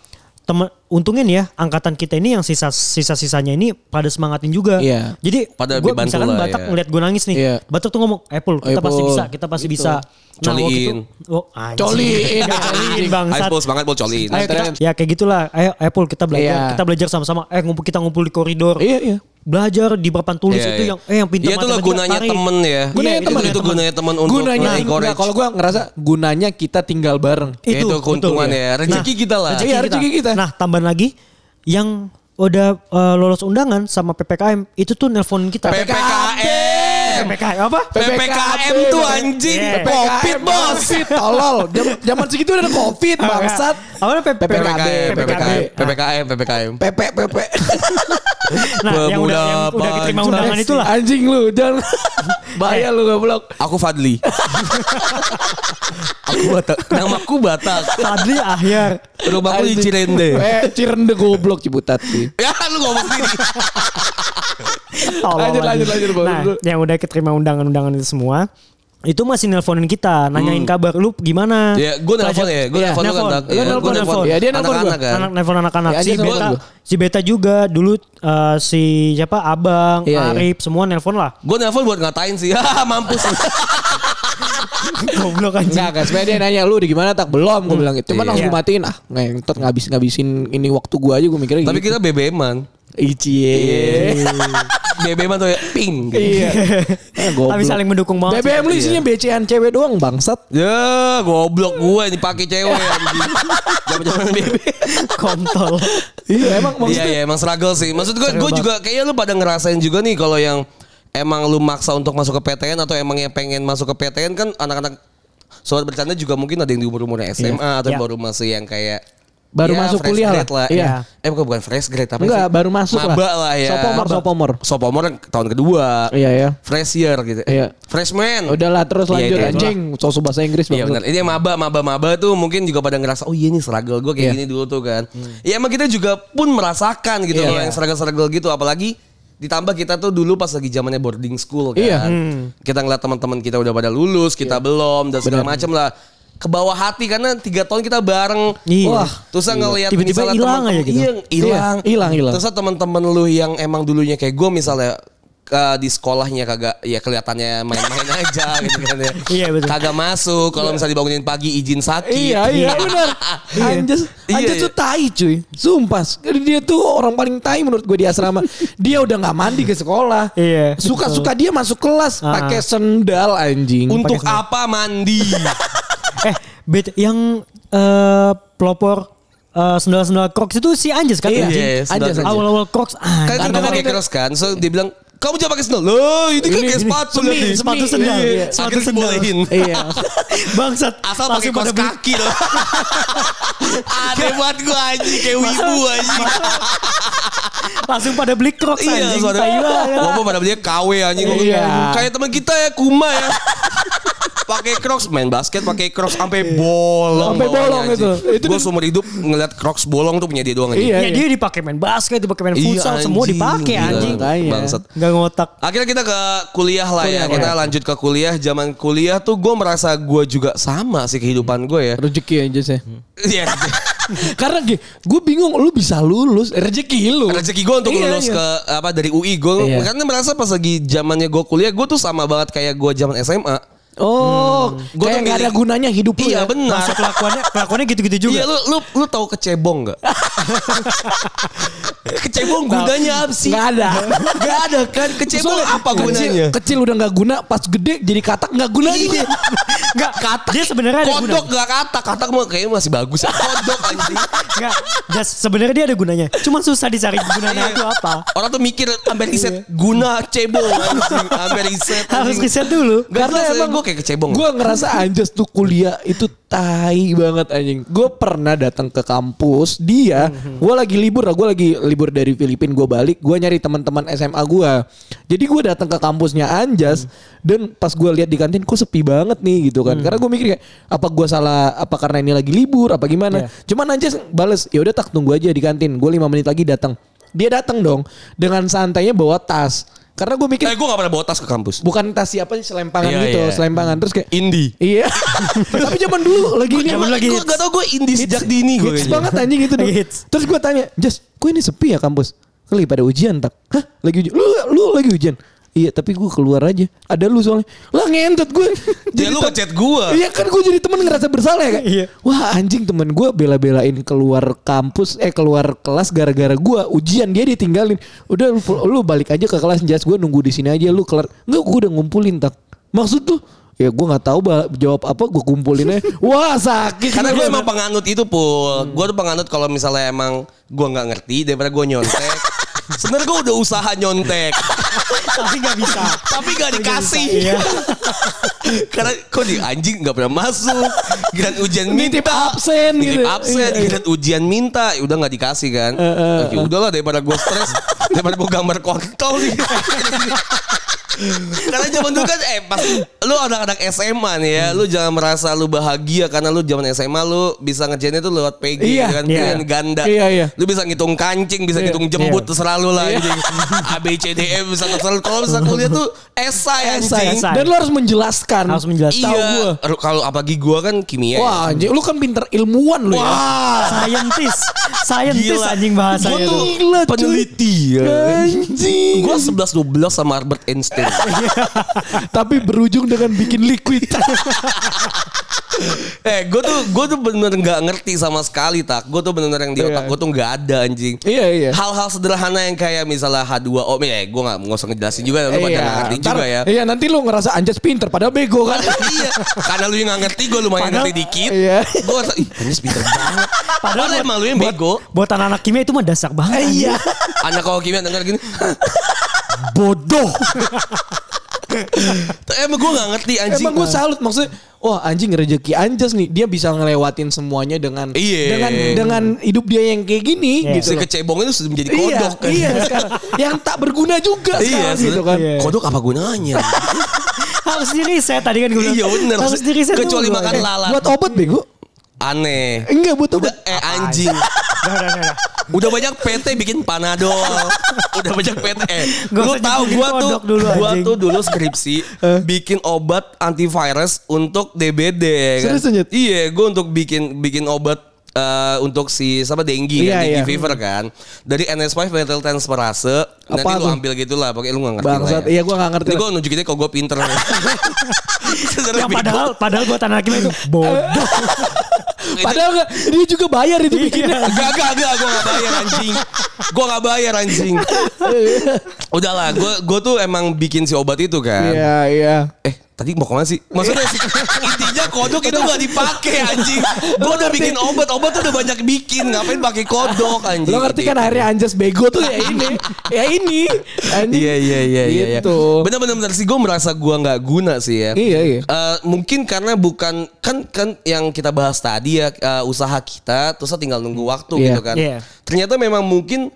Speaker 3: Temen, untungnya nih ya angkatan kita ini yang sisa sisa sisanya ini pada semangatin juga.
Speaker 4: Iya.
Speaker 3: Jadi
Speaker 2: Pada
Speaker 3: gua
Speaker 2: dibantu
Speaker 3: misalkan
Speaker 2: lah,
Speaker 3: Batak
Speaker 2: iya.
Speaker 3: ngeliat gue nangis nih.
Speaker 4: Iya.
Speaker 3: Batak tuh ngomong, "Apple, kita
Speaker 4: Apple."
Speaker 3: pasti bisa, kita pasti
Speaker 4: Gitu.
Speaker 3: bisa." Nah, waktu itu-
Speaker 2: Coliin.
Speaker 3: Oh, anjing.
Speaker 4: Coliin,
Speaker 3: Ya, coliin bangsat.
Speaker 2: High banget bol colin.
Speaker 3: Ayo kita, ya kayak gitulah. Ayo Apple kita belajar,
Speaker 4: Iya.
Speaker 3: kita belajar sama-sama. Eh ngumpul kita ngumpul di koridor.
Speaker 4: Iya, iya.
Speaker 3: Belajar di papan tulis
Speaker 2: Iya,
Speaker 3: itu
Speaker 2: iya.
Speaker 3: yang eh yang pintar
Speaker 2: Iya, itu lah
Speaker 3: matematika,
Speaker 2: gunanya
Speaker 3: tarik.
Speaker 2: temen ya.
Speaker 4: Gunanya
Speaker 3: Iya,
Speaker 4: temen.
Speaker 2: itu gunanya temen untuk
Speaker 4: gunanya
Speaker 2: encourage.
Speaker 4: enggak, kalau gue ngerasa gunanya kita tinggal bareng.
Speaker 2: Ya, itu keuntungan
Speaker 3: betul,
Speaker 2: ya. Rezeki kita lah.
Speaker 4: Iya, rezeki kita.
Speaker 3: Nah, tambahan lagi yang udah eh, lolos undangan sama PPKM itu tuh nelpon kita.
Speaker 2: PPKM.
Speaker 3: PPKM apa?
Speaker 2: PPKM tuh anjing.
Speaker 3: Iya.
Speaker 2: Covid bos.
Speaker 4: Covid, tolol. Jam- Zaman segitu udah ada Covid, bangsat.
Speaker 3: Apa namanya?
Speaker 4: PPKB,
Speaker 2: PPKM, PPKM,
Speaker 3: PPKB.
Speaker 2: PPKM, PPKM.
Speaker 4: PP, PP.
Speaker 3: Nah, yang udah yang
Speaker 2: Pemuda
Speaker 3: udah diterima
Speaker 2: Pancasila.
Speaker 3: undangan itulah.
Speaker 4: Anjing lu, jangan. Bahaya lu goblok.
Speaker 2: Aku Fadli. aku Batak. Namaku Batak.
Speaker 3: Fadli Ahyar.
Speaker 2: Rumahku di
Speaker 4: Anjing.
Speaker 2: Cirende.
Speaker 4: Eh, Cirende goblok Ciputat sih.
Speaker 2: Ya lu ngomong sendiri.
Speaker 3: Tolol
Speaker 4: Lanjut,
Speaker 3: lagi.
Speaker 4: lanjut, lanjut, Bang.
Speaker 3: Nah, yang udah keterima undangan-undangan itu semua itu masih nelponin kita, nanyain kabar lu gimana.
Speaker 2: Ya, gua nelpon ya, gua
Speaker 3: Iya,
Speaker 2: nelpon lu kan, Tak?
Speaker 3: Lu
Speaker 2: Iya,
Speaker 3: nelpon,
Speaker 2: gua nelpon.
Speaker 3: nelpon.
Speaker 4: Ya dia nelpon
Speaker 2: Anak-anak
Speaker 4: gua.
Speaker 2: kan?
Speaker 3: anak nelpon anak-anak
Speaker 4: Ya,
Speaker 3: si
Speaker 4: dia sama
Speaker 3: beta
Speaker 4: gua.
Speaker 3: si beta juga dulu eh, si siapa abang
Speaker 4: Iya,
Speaker 3: Arif semua nelpon lah
Speaker 2: Gue nelpon buat ngatain sih. Hahaha, mampus.
Speaker 3: goblok
Speaker 4: Enggak,
Speaker 3: aja
Speaker 4: kan sebenarnya dia nanya lu udah gimana tak belum gue bilang gitu. Cuman
Speaker 2: Iya.
Speaker 4: langsung
Speaker 3: Iya.
Speaker 4: matiin ah, ngentot ngabis ngabisin ini waktu gua aja gue mikirnya
Speaker 2: Tapi Iya. kita
Speaker 4: gitu.
Speaker 2: BBM-an.
Speaker 4: Icie.
Speaker 2: BBM-an tuh ya ping. gitu.
Speaker 4: Hmm. Iya. Ah, goblok.
Speaker 3: Tapi saling mendukung banget.
Speaker 4: BBM lu isinya BCN cewek doang bangsat.
Speaker 2: Ya, goblok gue dipakai cewek. anjing. Jaman-jaman BBM.
Speaker 3: kontol
Speaker 4: Iya, emang
Speaker 2: Iya
Speaker 4: maksudnya
Speaker 2: iya emang struggle sih. Maksud gue gue
Speaker 3: Struggle
Speaker 2: juga kayaknya lu pada ngerasain juga nih kalau yang emang lu maksa untuk masuk ke PTN atau emang yang pengen masuk ke PTN kan anak-anak sobat bercanda juga mungkin ada yang di umur-umurnya SMA atau
Speaker 3: Iya.
Speaker 2: baru masih yang kayak
Speaker 4: Baru
Speaker 2: Ya,
Speaker 4: masuk
Speaker 2: fresh
Speaker 4: kuliah lah.
Speaker 2: grade lah.
Speaker 4: Iya.
Speaker 2: Eh bukan bukan fresh grade tapi
Speaker 4: Enggak, baru masuk lah.
Speaker 2: Maba lah ya.
Speaker 4: Sophomore,
Speaker 2: Maba.
Speaker 4: sophomore.
Speaker 2: Sophomore yang tahun kedua.
Speaker 4: Iya ya.
Speaker 2: Fresh year gitu. Eh,
Speaker 4: Iya.
Speaker 2: Freshman.
Speaker 4: Udahlah terus
Speaker 2: Iya,
Speaker 4: lanjut
Speaker 2: iya,
Speaker 4: anjing. Sosok bahasa Inggris
Speaker 2: Iya benar.
Speaker 4: banget.
Speaker 2: Ini yang maba, maba, maba tuh mungkin juga pada ngerasa, oh iya nih struggle gue kayak
Speaker 4: Iya.
Speaker 2: gini dulu tuh kan.
Speaker 3: Hmm.
Speaker 2: Ya emang kita juga pun merasakan gitu
Speaker 4: Iya.
Speaker 2: loh yang struggle-struggle gitu. Apalagi ditambah kita tuh dulu pas lagi zamannya boarding school kan.
Speaker 4: Iya.
Speaker 3: Hmm.
Speaker 2: Kita ngeliat teman-teman kita udah pada lulus, kita
Speaker 3: Iya.
Speaker 2: belum dan segala macam lah. Kebawa hati karena tiga tahun kita bareng.
Speaker 3: Iya.
Speaker 2: Wah, terus ngelihat
Speaker 3: Tiba-tiba
Speaker 2: misalnya
Speaker 3: hilang
Speaker 2: teman-teman-
Speaker 3: aja gitu.
Speaker 2: Iya, hilang.
Speaker 4: Iya, hilang, hilang.
Speaker 2: Terus teman-teman lu yang emang dulunya kayak gue misalnya eh, di sekolahnya kagak ya kelihatannya main-main aja gitu kan ya.
Speaker 3: Iya, betul.
Speaker 2: Kagak masuk kalau misalnya dibangunin pagi izin sakit.
Speaker 4: Iya iya benar.
Speaker 2: Gitu.
Speaker 4: Anjas
Speaker 2: Iya,
Speaker 4: Anjas
Speaker 2: iya.
Speaker 4: tuh tai cuy. Sumpah. Dia tuh orang paling tai menurut gue di asrama. dia udah nggak mandi ke sekolah.
Speaker 3: Iya.
Speaker 4: Suka-suka dia masuk kelas
Speaker 3: Ah.
Speaker 4: pakai sendal anjing.
Speaker 2: Untuk
Speaker 3: Pakai
Speaker 2: apa mandi?
Speaker 3: eh, bet yang eh, pelopor eh, sendal-sendal Crocs itu si Anjas kan
Speaker 2: Iya,
Speaker 3: anjing.
Speaker 2: iya, sendal
Speaker 3: Anjas,
Speaker 2: Crocs.
Speaker 3: Awal-awal Crocs Ah,
Speaker 2: kan
Speaker 3: anjing.
Speaker 2: kita pakai cross kan. So dia bilang kamu jangan pakai sendal. Loh, ini kan kayak sepatu
Speaker 3: semi,
Speaker 2: lagi.
Speaker 3: sepatu sendal,
Speaker 2: Iya.
Speaker 3: iya.
Speaker 2: Akhirnya
Speaker 3: Sepatu sendal.
Speaker 2: dibolehin.
Speaker 4: Iya.
Speaker 3: Bangsat.
Speaker 2: Asal pakai
Speaker 3: langsung
Speaker 2: kaos
Speaker 3: pada beli.
Speaker 2: kaki loh. Aneh banget gue anjing kayak wibu anjing.
Speaker 3: Langsung pada beli Crocs
Speaker 2: Iya,
Speaker 3: anjing.
Speaker 2: suara
Speaker 3: Tai banget.
Speaker 2: Walaupun pada belinya KW anjing.
Speaker 4: Iya.
Speaker 2: Kayak teman kita ya Kuma ya. pakai Crocs main basket pakai Crocs sampai bolong
Speaker 4: Sampai bolong itu. Itu
Speaker 2: gue
Speaker 4: dia-
Speaker 2: seumur hidup ngeliat Crocs bolong tuh punya dia doang anjing.
Speaker 4: Iya.
Speaker 3: Ya dia dipakai main basket, dipakai main futsal, semua
Speaker 2: anjing, gila.
Speaker 3: dipakai Iya, anjing.
Speaker 4: Makanya.
Speaker 2: bangsat
Speaker 3: Gak ngotak.
Speaker 2: Akhirnya kita ke kuliah lah ya.
Speaker 4: Kuliah, iya.
Speaker 2: Kita lanjut ke kuliah. Zaman kuliah tuh gue merasa gue juga sama sih kehidupan gue ya.
Speaker 4: Rezeki Anjas ya.
Speaker 2: Iya.
Speaker 4: Karena gue bingung lu bisa lulus eh, rezeki lu.
Speaker 2: Rezeki gue untuk
Speaker 4: Iya,
Speaker 2: lulus
Speaker 4: iya.
Speaker 2: ke apa dari UI gue
Speaker 4: Iya.
Speaker 2: karena kan merasa pas lagi zamannya gue kuliah gue tuh sama banget kayak gue zaman SMA.
Speaker 4: Oh,
Speaker 2: Gua tuh
Speaker 4: kayak nggak ada
Speaker 2: milih-
Speaker 4: gunanya hidup lu.
Speaker 2: Iya
Speaker 4: ya.
Speaker 2: benar.
Speaker 3: Masa kelakuannya, kelakuannya gitu-gitu juga.
Speaker 2: Iya lu lu lu tahu kecebong nggak? kecebong gunanya apa sih?
Speaker 4: Iya, Nggak ada.
Speaker 2: Gak ada kan kecebong
Speaker 4: Soalnya
Speaker 2: apa
Speaker 4: kecil-
Speaker 2: gunanya?
Speaker 4: Kecil udah nggak guna, pas gede jadi katak nggak guna lagi.
Speaker 3: Enggak, kata. Dia sebenarnya ada gunanya.
Speaker 2: Kodok gak kata, kata mah kayaknya masih bagus. Kodok anjing.
Speaker 3: Enggak, just sebenarnya dia ada gunanya. Cuman susah dicari gunanya itu apa.
Speaker 2: Orang tuh mikir sampai riset guna cebong anjing, sampai riset.
Speaker 3: Iya. Harus riset dulu.
Speaker 2: Gak Karena emang gue eh, kayak kecebong.
Speaker 4: Gue ngerasa Anjas tuh kuliah itu tai banget anjing. Gue pernah datang ke kampus dia,
Speaker 2: Mhm.
Speaker 4: gue lagi libur, gue lagi libur dari Filipina gue balik, gue nyari teman-teman SMA gue. Jadi gue datang ke kampusnya
Speaker 2: Mhm.
Speaker 4: Anjas dan pas gue lihat di kantin kok sepi banget nih gitu kan. Karena gue mikir kayak apa gue salah apa karena ini lagi libur apa
Speaker 2: Iya.
Speaker 4: gimana. Cuman Anjas bales ya udah tak tunggu aja di kantin. Gue lima menit lagi datang. Dia datang dong dengan santainya bawa tas. Karena gue mikir
Speaker 2: eh gue gak pernah bawa tas ke kampus.
Speaker 4: bukan tas siapa sih selempangan
Speaker 2: Iya,
Speaker 4: gitu,
Speaker 2: iya.
Speaker 4: selempangan terus kayak
Speaker 2: Indie.
Speaker 4: Iya. Tapi zaman dulu lagi ini
Speaker 3: Zaman Iya, lagi
Speaker 2: Gue
Speaker 3: hits.
Speaker 2: gak tau gue indie sejak dini gue.
Speaker 4: hits banget anjing itu dulu.
Speaker 3: Hits.
Speaker 4: Terus gue tanya, Jas, kok ini sepi ya kampus? Kali pada ujian tak? Hah? Lagi ujian? Lu, lu lagi ujian? Iya tapi gue keluar aja Ada lu soalnya Lah ngentot gue
Speaker 2: Ya lu
Speaker 4: tem-
Speaker 2: ngechat gua.
Speaker 4: Iya kan gue jadi temen ngerasa bersalah ya kan
Speaker 3: Iya.
Speaker 4: Wah anjing temen gue bela-belain keluar kampus Eh keluar kelas gara-gara gue Ujian dia ditinggalin Udah lu, lu balik aja ke kelas Jas gue nunggu di sini aja lu kelar Enggak gue udah ngumpulin tak Maksud tuh Ya gue gak tahu ba- jawab apa gue kumpulin aja Wah sakit
Speaker 2: Karena
Speaker 3: Iya,
Speaker 2: gue emang penganut itu
Speaker 3: Hmm.
Speaker 2: pul. Gue tuh penganut kalau misalnya emang gue nggak ngerti daripada gue nyontek. Sebenarnya gue udah usaha nyontek,
Speaker 3: Tapi gak bisa.
Speaker 2: tapi gak dikasih.
Speaker 3: Iya.
Speaker 2: Karena kok di anjing nggak pernah masuk. Giliran ujian minta.
Speaker 4: Nitip absen gitu.
Speaker 2: Nitip absen.
Speaker 4: Iya, Eh, iya.
Speaker 2: Giliran ujian minta. ya Udah nggak dikasih kan. Oke udahlah daripada gue stres. daripada gue gambar kontol nih. karena zaman dulu kan eh pas lu anak-anak SMA nih ya, lu jangan merasa lu bahagia karena lu zaman SMA lu bisa ngerjainnya tuh lewat PG
Speaker 4: Iya,
Speaker 2: kan
Speaker 3: iya.
Speaker 2: pilihan ganda.
Speaker 4: Iya, iya.
Speaker 2: Lu bisa ngitung kancing, bisa
Speaker 4: Iya,
Speaker 2: ngitung jembut
Speaker 3: iya.
Speaker 2: terserah lu lah anjing. A B C D E bisa terserah lu. Kalau misalnya kuliah tuh esai
Speaker 4: Esai.
Speaker 2: anjing.
Speaker 3: Esai.
Speaker 4: Dan lu harus menjelaskan
Speaker 3: Harus menjelaskan.
Speaker 4: Tahu gua.
Speaker 2: Iya. Ru- Kalau apalagi gua kan kimia.
Speaker 4: Wah
Speaker 2: ya.
Speaker 4: anjing lu kan pinter ilmuwan lu ya
Speaker 3: Scientist. Scientist
Speaker 2: Gila.
Speaker 3: anjing
Speaker 2: Gua
Speaker 3: bahasanya
Speaker 2: tuh
Speaker 3: Ah, tuh.
Speaker 4: Gila, cuy.
Speaker 2: peneliti ya.
Speaker 4: Anjing
Speaker 2: Gua 11 12 sama Albert Einstein.
Speaker 4: Tapi berujung dengan bikin liquid
Speaker 2: eh, gua tuh gua tuh bener nggak ngerti sama sekali tak. Gua tuh bener yang di
Speaker 4: Iya.
Speaker 2: otak gua tuh nggak ada anjing.
Speaker 4: Iya iya
Speaker 2: Hal-hal sederhana yang kayak misalnya H2O, ya gue gak, nggak usah ngejelasin juga, lu pada nggak ngerti
Speaker 4: Iya. ntar-
Speaker 2: juga ya.
Speaker 4: Iya nanti lu ngerasa anjas pinter padahal bego kan.
Speaker 2: iya, karena lu yang gak ngerti, gue lumayan
Speaker 3: Padahal-
Speaker 2: ngerti dikit.
Speaker 4: Iya.
Speaker 2: Gue rasa, ih Anjas pinter banget. Padahal
Speaker 3: buat-
Speaker 2: emang lu yang bego. Eh, iya.
Speaker 3: Buat anak-anak kimia itu mah dasar banget. anjing.
Speaker 2: Anak kalau kimia denger gini,
Speaker 3: Bodoh.
Speaker 2: Emang gue gak ngerti anjing. ah.
Speaker 4: Emang gue salut maksudnya, wah anjing rezeki anjas nih, dia bisa ngelewatin semuanya dengan
Speaker 2: Iya.
Speaker 4: dengan dengan hidup dia yang kayak gini
Speaker 3: Iya.
Speaker 2: Si
Speaker 4: gitu. loh.
Speaker 2: kecebong itu sudah menjadi kodok kan.
Speaker 4: iya, iya sekarang. yang tak berguna juga
Speaker 2: Iya,
Speaker 4: sekarang gitu
Speaker 2: sebenarnya.
Speaker 4: kan.
Speaker 3: Iya.
Speaker 2: Kodok apa gunanya?
Speaker 3: harus diri saya tadi kan gue bilang.
Speaker 2: Iya, bener.
Speaker 3: Harus diri saya
Speaker 2: Kecuali makan
Speaker 3: Eh,
Speaker 2: lalat.
Speaker 4: Buat obat bego?
Speaker 2: Aneh.
Speaker 4: Enggak buat
Speaker 2: Udah
Speaker 4: obat.
Speaker 2: eh anjing.
Speaker 3: Udah, udah, udah, udah.
Speaker 2: Udah banyak PT bikin panadol. Udah banyak PT. Eh,
Speaker 3: Gak
Speaker 2: lu
Speaker 3: usah
Speaker 2: tahu
Speaker 3: nyebutin
Speaker 2: gua tuh
Speaker 3: kodok dulu,
Speaker 2: gua
Speaker 3: anjing.
Speaker 2: tuh dulu skripsi bikin obat antivirus untuk DBD ya kan.
Speaker 4: Serius, Nyet?
Speaker 2: Iya, gua untuk bikin bikin obat eh, untuk si siapa dengue kan,
Speaker 4: Iya,
Speaker 2: dengue
Speaker 4: iya.
Speaker 2: fever kan. Dari NS5 metal transferase nanti
Speaker 4: Apa
Speaker 2: lu
Speaker 4: tuh?
Speaker 2: ambil gitulah pokoknya lu gak ngerti. lah
Speaker 4: Bangsat,
Speaker 2: ya.
Speaker 4: iya gue gak ngerti.
Speaker 2: Ini gue nunjukin aja kalau gue pinter.
Speaker 3: Yang padahal padahal buat anak hakim itu bodoh.
Speaker 4: Padahal nggak, dia juga bayar itu
Speaker 2: Iya.
Speaker 4: bikinnya.
Speaker 2: Gak, gak, gak, gue gak bayar anjing Gue gak bayar anjing Udahlah, gue gua tuh emang bikin si obat itu kan
Speaker 4: Iya, iya.
Speaker 2: Eh, tadi mau kemana sih? Maksudnya sih, intinya kodok itu gak dipakai anjing Gue udah bikin obat, obat tuh udah banyak bikin Ngapain pakai kodok anjing Gitu.
Speaker 4: Lo ngerti kan akhirnya anjas bego tuh ya ini. ya ini. Anjing.
Speaker 2: Iya iya iya iya. iya.
Speaker 4: Gitu.
Speaker 2: Bener bener bener sih gue merasa gue nggak guna sih ya.
Speaker 4: Iya, iya.
Speaker 2: Eh, mungkin karena bukan kan kan yang kita bahas tadi ya eh, usaha kita terus tinggal nunggu waktu
Speaker 4: Iya.
Speaker 2: gitu kan.
Speaker 3: Iya.
Speaker 2: Ternyata memang mungkin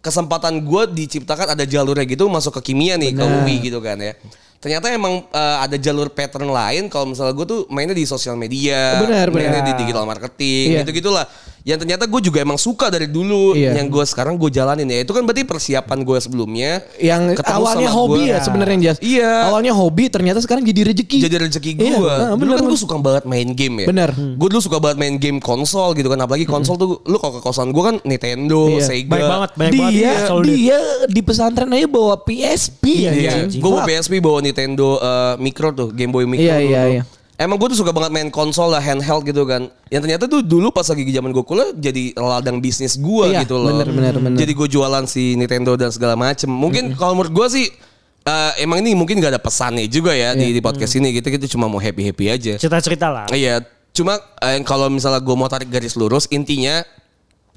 Speaker 2: kesempatan gue diciptakan ada jalurnya gitu masuk ke kimia nih ke UI gitu kan ya. Ternyata emang eh, ada jalur pattern lain kalau misalnya gue tuh mainnya di sosial media,
Speaker 4: Benar,
Speaker 2: mainnya
Speaker 4: benar.
Speaker 2: di digital marketing,
Speaker 4: Iya.
Speaker 2: gitu-gitulah. Yang ternyata gue juga emang suka dari dulu,
Speaker 4: Iya.
Speaker 2: yang gue sekarang gue jalanin ya. Itu kan berarti persiapan gue sebelumnya
Speaker 4: Yang
Speaker 2: Ketemu
Speaker 4: awalnya
Speaker 2: sama
Speaker 4: hobi
Speaker 2: gua.
Speaker 4: ya sebenarnya Jas.
Speaker 2: Iya.
Speaker 4: Awalnya hobi ternyata sekarang jadi rezeki.
Speaker 2: jadi rezeki gue.
Speaker 4: Iya, ah,
Speaker 2: dulu
Speaker 4: bener,
Speaker 2: kan gue
Speaker 4: bener.
Speaker 2: suka banget main game ya.
Speaker 4: Bener. Hmm.
Speaker 2: Gue dulu suka banget main game konsol gitu kan. Apalagi konsol tuh lu kalau ke kosan gue kan Nintendo,
Speaker 4: Iya.
Speaker 2: Sega.
Speaker 3: Banyak banget, banyak banget.
Speaker 2: ya,
Speaker 4: dia
Speaker 3: Selalu
Speaker 4: dia, di pesantren aja bawa PSP
Speaker 3: Iya,
Speaker 4: anjing.
Speaker 2: Iya.
Speaker 3: anjing.
Speaker 2: Gue bawa PSP bawa Nintendo eh, Micro tuh, Game Boy Micro.
Speaker 4: Iya,
Speaker 2: dulu
Speaker 4: iya,
Speaker 2: tuh.
Speaker 4: iya.
Speaker 2: Emang gue tuh suka banget main konsol lah, handheld gitu kan. Yang ternyata tuh dulu pas lagi zaman gue kuliah jadi ladang bisnis gue
Speaker 4: Iya,
Speaker 2: gitu loh.
Speaker 4: bener, bener, bener. Hmm.
Speaker 2: Jadi gue jualan si Nintendo dan segala macem. Mungkin kalau menurut gue sih eh, emang ini mungkin gak ada pesannya juga ya di,
Speaker 4: Iya.
Speaker 2: di podcast
Speaker 4: Hmm.
Speaker 2: ini gitu. Kita cuma mau happy happy aja.
Speaker 3: Cerita-cerita lah.
Speaker 2: Iya, cuma eh, kalau misalnya gue mau tarik garis lurus, intinya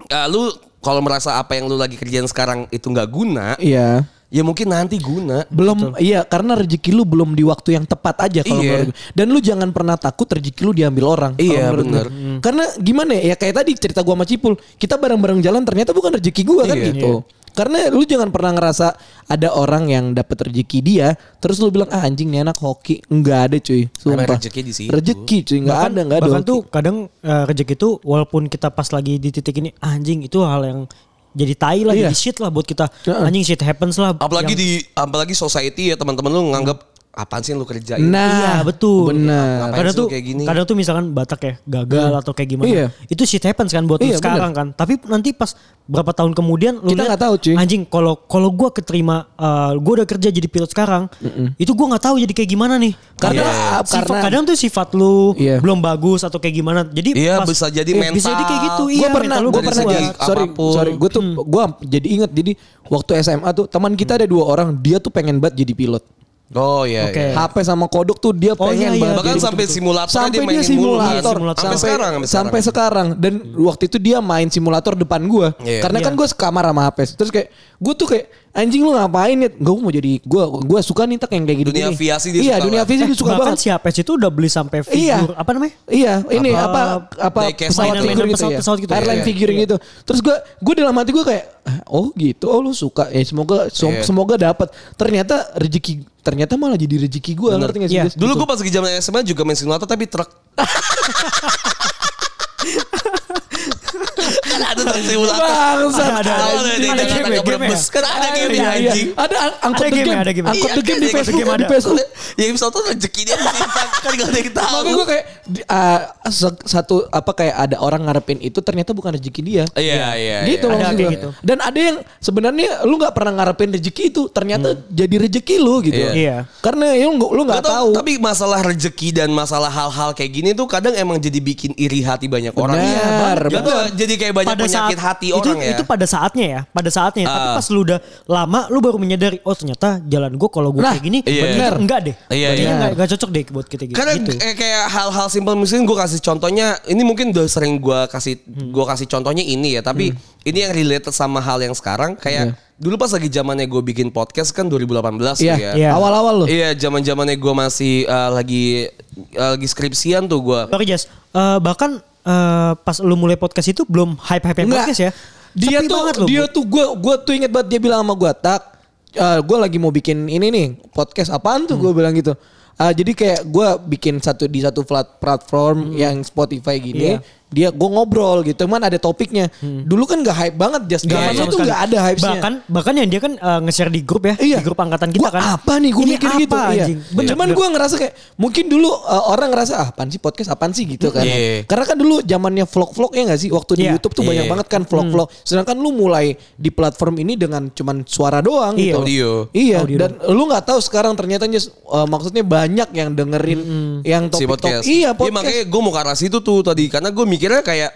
Speaker 2: eh, lu kalau merasa apa yang lu lagi kerjain sekarang itu nggak guna,
Speaker 4: Iya.
Speaker 2: ya mungkin nanti guna.
Speaker 4: Belum iya karena rezeki lu belum di waktu yang tepat aja kalau
Speaker 2: Iya.
Speaker 4: menurut gue. Dan lu jangan pernah takut rezeki lu diambil orang. kalau
Speaker 2: Iya,
Speaker 4: menurut
Speaker 2: bener.
Speaker 4: gue. Karena gimana ya ya kayak tadi cerita gua sama Cipul, kita bareng-bareng jalan ternyata bukan rezeki gua kan
Speaker 2: Iya.
Speaker 4: gitu. Karena lu jangan pernah ngerasa ada orang yang dapat rezeki dia, terus lu bilang ah anjing nih anak hoki. Enggak ada cuy. Sumpah.
Speaker 2: Karena rezeki di situ.
Speaker 4: Rezeki cuy, enggak ada, enggak ada.
Speaker 3: bahkan
Speaker 4: hoki.
Speaker 3: tuh kadang eh, rezeki tuh walaupun kita pas lagi di titik ini anjing itu hal yang jadi tai lah,
Speaker 4: Iya.
Speaker 3: jadi shit lah buat kita.
Speaker 4: Heeh.
Speaker 3: Anjing shit happens lah.
Speaker 2: Apalagi
Speaker 3: Yang-
Speaker 2: di apalagi society ya teman-teman lu nganggap apaan sih yang lu kerjain?
Speaker 3: Iya
Speaker 4: Nah,
Speaker 3: betul.
Speaker 2: Ngapain
Speaker 4: Benar.
Speaker 2: sih
Speaker 3: Kadang
Speaker 2: lu
Speaker 3: tuh
Speaker 2: kayak gini?
Speaker 3: kadang tuh misalkan Batak ya gagal atau kayak gimana.
Speaker 4: Iya.
Speaker 3: Itu shit happens kan buat lu
Speaker 4: Iya,
Speaker 3: sekarang kan. Tapi nanti pas berapa tahun kemudian
Speaker 4: Kita
Speaker 3: lu lihat,
Speaker 4: nggak tahu, cuy.
Speaker 3: Anjing kalau kalau gua keterima eh, gua udah kerja jadi pilot sekarang, itu gua nggak tahu jadi kayak gimana nih. Karena
Speaker 4: Iya.
Speaker 3: sifat-
Speaker 4: Karena-
Speaker 3: kadang tuh sifat lu
Speaker 4: Iya.
Speaker 3: belum bagus atau kayak gimana. Jadi
Speaker 2: Iya,
Speaker 3: pas-
Speaker 2: bisa jadi
Speaker 3: eh,
Speaker 2: mental.
Speaker 3: Bisa jadi kayak gitu.
Speaker 2: Gua
Speaker 3: iya,
Speaker 4: gue pernah
Speaker 3: mental lu
Speaker 4: gue
Speaker 2: dari
Speaker 3: kuat.
Speaker 4: pernah
Speaker 2: segi
Speaker 4: Jas. sorry
Speaker 2: apapun. Hmm.
Speaker 4: sorry gue tuh gue jadi inget jadi waktu SMA tuh teman kita ada dua orang dia tuh pengen banget jadi pilot
Speaker 2: Oh iya.
Speaker 3: Oke.
Speaker 2: iya.
Speaker 4: HP sama kodok tuh dia
Speaker 3: Oh,
Speaker 4: pengen
Speaker 3: iya, iya.
Speaker 4: banget
Speaker 2: Bahkan
Speaker 4: jadi-
Speaker 2: sampai simulator
Speaker 4: sampai dia simulator
Speaker 2: kan. Sampai sekarang Hmm.
Speaker 4: sampai, sekarang dan waktu itu dia main simulator depan gue
Speaker 2: Iya.
Speaker 4: karena kan gue sekamar sama HP terus kayak gue tuh kayak anjing lu ngapain ya gue mau jadi gue gue suka nih tak yang kayak gitu
Speaker 2: Dunia aviasi dia
Speaker 4: iya
Speaker 2: suka
Speaker 4: dunia
Speaker 2: banget.
Speaker 4: aviasi dia suka
Speaker 3: Bahkan
Speaker 4: banget
Speaker 3: si Apes itu udah beli sampai figur apa namanya?
Speaker 4: Iya, ini apa apa,
Speaker 2: diecast
Speaker 4: pesawat
Speaker 2: mainan-
Speaker 4: figure gitu
Speaker 3: mainan
Speaker 4: ya.
Speaker 3: pesawat-pesawat gitu ya.
Speaker 4: Airline
Speaker 3: Iya.
Speaker 4: figure gitu. Terus gue gue dalam hati gue kayak "Ah, oh gitu, oh lu suka. Ya semoga so-
Speaker 2: Iya.
Speaker 4: semoga dapat. Ternyata rezeki ternyata malah jadi rezeki gue.
Speaker 2: Bener.
Speaker 4: Ngerti gak sih?
Speaker 3: Iya.
Speaker 4: Des?
Speaker 2: Dulu
Speaker 4: Gitu.
Speaker 2: gue pas lagi zaman SMA juga main simulator tapi truk. kan ada truk simulator.
Speaker 4: Bangsat.
Speaker 2: Ada ada
Speaker 3: Ada
Speaker 2: ada ada
Speaker 3: game ya,
Speaker 2: ada
Speaker 3: game ya?
Speaker 2: Brebes. Kan ada game ya,
Speaker 4: Iya, iya.
Speaker 2: anjing.
Speaker 4: Ada ang- angkut
Speaker 3: Ada
Speaker 4: the
Speaker 3: game ya,
Speaker 4: game,
Speaker 3: ada game ya.
Speaker 4: angkut the game di
Speaker 2: Iya, kan,
Speaker 4: Facebook,
Speaker 3: game
Speaker 4: di
Speaker 3: ada.
Speaker 4: Facebook.
Speaker 2: Ya simulator rezeki dia disimpan kan gak ada yang tahu.
Speaker 4: Makanya gue kayak di- ah, se- satu apa kayak ada orang ngarepin itu ternyata bukan rezeki dia.
Speaker 2: Iya iya.
Speaker 4: gitu
Speaker 2: iya.
Speaker 4: loh
Speaker 3: Ada
Speaker 4: maksud
Speaker 3: kayak
Speaker 4: gua.
Speaker 3: gitu.
Speaker 4: Dan ada yang sebenarnya lu nggak pernah ngarepin rezeki itu, ternyata jadi rezeki lu gitu.
Speaker 2: Iya.
Speaker 3: Iya.
Speaker 4: Karena ya lu nggak lu nggak
Speaker 2: Nggak
Speaker 4: tahu.
Speaker 2: Tapi masalah rezeki dan masalah hal-hal kayak gini tuh kadang emang jadi bikin iri hati banyak orang.
Speaker 4: Benar,
Speaker 2: Iya,
Speaker 4: benar.
Speaker 2: betul. Jadi kayak banyak penyakit hati
Speaker 3: itu,
Speaker 2: orang ya.
Speaker 3: Itu pada saatnya ya, pada saatnya. Tapi
Speaker 2: Ah.
Speaker 3: pas lu udah lama, lu baru menyadari, oh ternyata jalan gue kalau gue
Speaker 4: Nah,
Speaker 3: kayak gini,
Speaker 2: iya.
Speaker 3: bener. enggak deh.
Speaker 2: Iya,
Speaker 3: Kayaknya
Speaker 2: iya.
Speaker 3: enggak, enggak cocok deh buat kita gitu.
Speaker 2: Karena
Speaker 3: gitu.
Speaker 2: eh, kayak hal-hal simpel mungkin gue kasih contohnya ini mungkin udah
Speaker 4: Hmm. Iya.
Speaker 2: sering gue kasih gua kasih contohnya ini ya tapi ini yang related sama hal yang sekarang kayak dulu pas lagi zamannya gue bikin podcast kan 2018 tuh
Speaker 4: Iya,
Speaker 2: ya.
Speaker 3: Iya.
Speaker 4: awal-awal loh.
Speaker 2: Iya, zaman zamannya gue masih eh, lagi eh, lagi skripsian tuh gue.
Speaker 3: Oke Jas, Eh, bahkan eh, pas lu mulai podcast itu belum hype-hype yang
Speaker 4: Enggak.
Speaker 3: podcast ya.
Speaker 4: Dia
Speaker 3: Sepi
Speaker 4: tuh
Speaker 3: banget loh,
Speaker 4: dia
Speaker 3: Bu.
Speaker 4: tuh gue gue tuh inget banget dia bilang sama gue tak eh, gue lagi mau bikin ini nih podcast apaan tuh gue bilang gitu. Ah, jadi kayak gue bikin satu di satu plat- platform yang Spotify gini.
Speaker 3: Iya.
Speaker 4: Dia gue ngobrol gitu, cuman ada topiknya. Dulu kan gak hype banget, just gak
Speaker 3: Nggak sama
Speaker 4: itu
Speaker 3: sekali.
Speaker 4: gak ada hype
Speaker 3: Bahkan bahkan yang dia kan eh, nge-share di grup ya,
Speaker 4: Iya.
Speaker 3: di grup angkatan
Speaker 4: Gua
Speaker 3: kita kan.
Speaker 4: apa nih gue
Speaker 3: Ini
Speaker 4: mikir
Speaker 3: apa,
Speaker 4: gitu. Iya.
Speaker 3: anjing? Bener,
Speaker 4: Cuman
Speaker 3: bener.
Speaker 4: gue ngerasa kayak mungkin dulu uh, orang ngerasa ah, apaan sih podcast apaan sih gitu kan.
Speaker 2: Iya.
Speaker 4: Karena kan dulu zamannya vlog-vlog ya gak sih waktu di
Speaker 3: Iya.
Speaker 4: YouTube tuh banyak
Speaker 2: Iya.
Speaker 4: banget kan vlog-vlog. Sedangkan lu mulai di platform ini dengan cuman suara doang
Speaker 3: Iya.
Speaker 4: gitu.
Speaker 2: Audio.
Speaker 4: Iya,
Speaker 3: Audio
Speaker 4: dan lu nggak tahu sekarang ternyata just, uh, maksudnya banyak yang dengerin yang
Speaker 2: Hmm. si podcast.
Speaker 4: topik-topik. Iya, podcast.
Speaker 2: makanya gue mau ke arah situ tuh tadi karena gue mikirnya kayak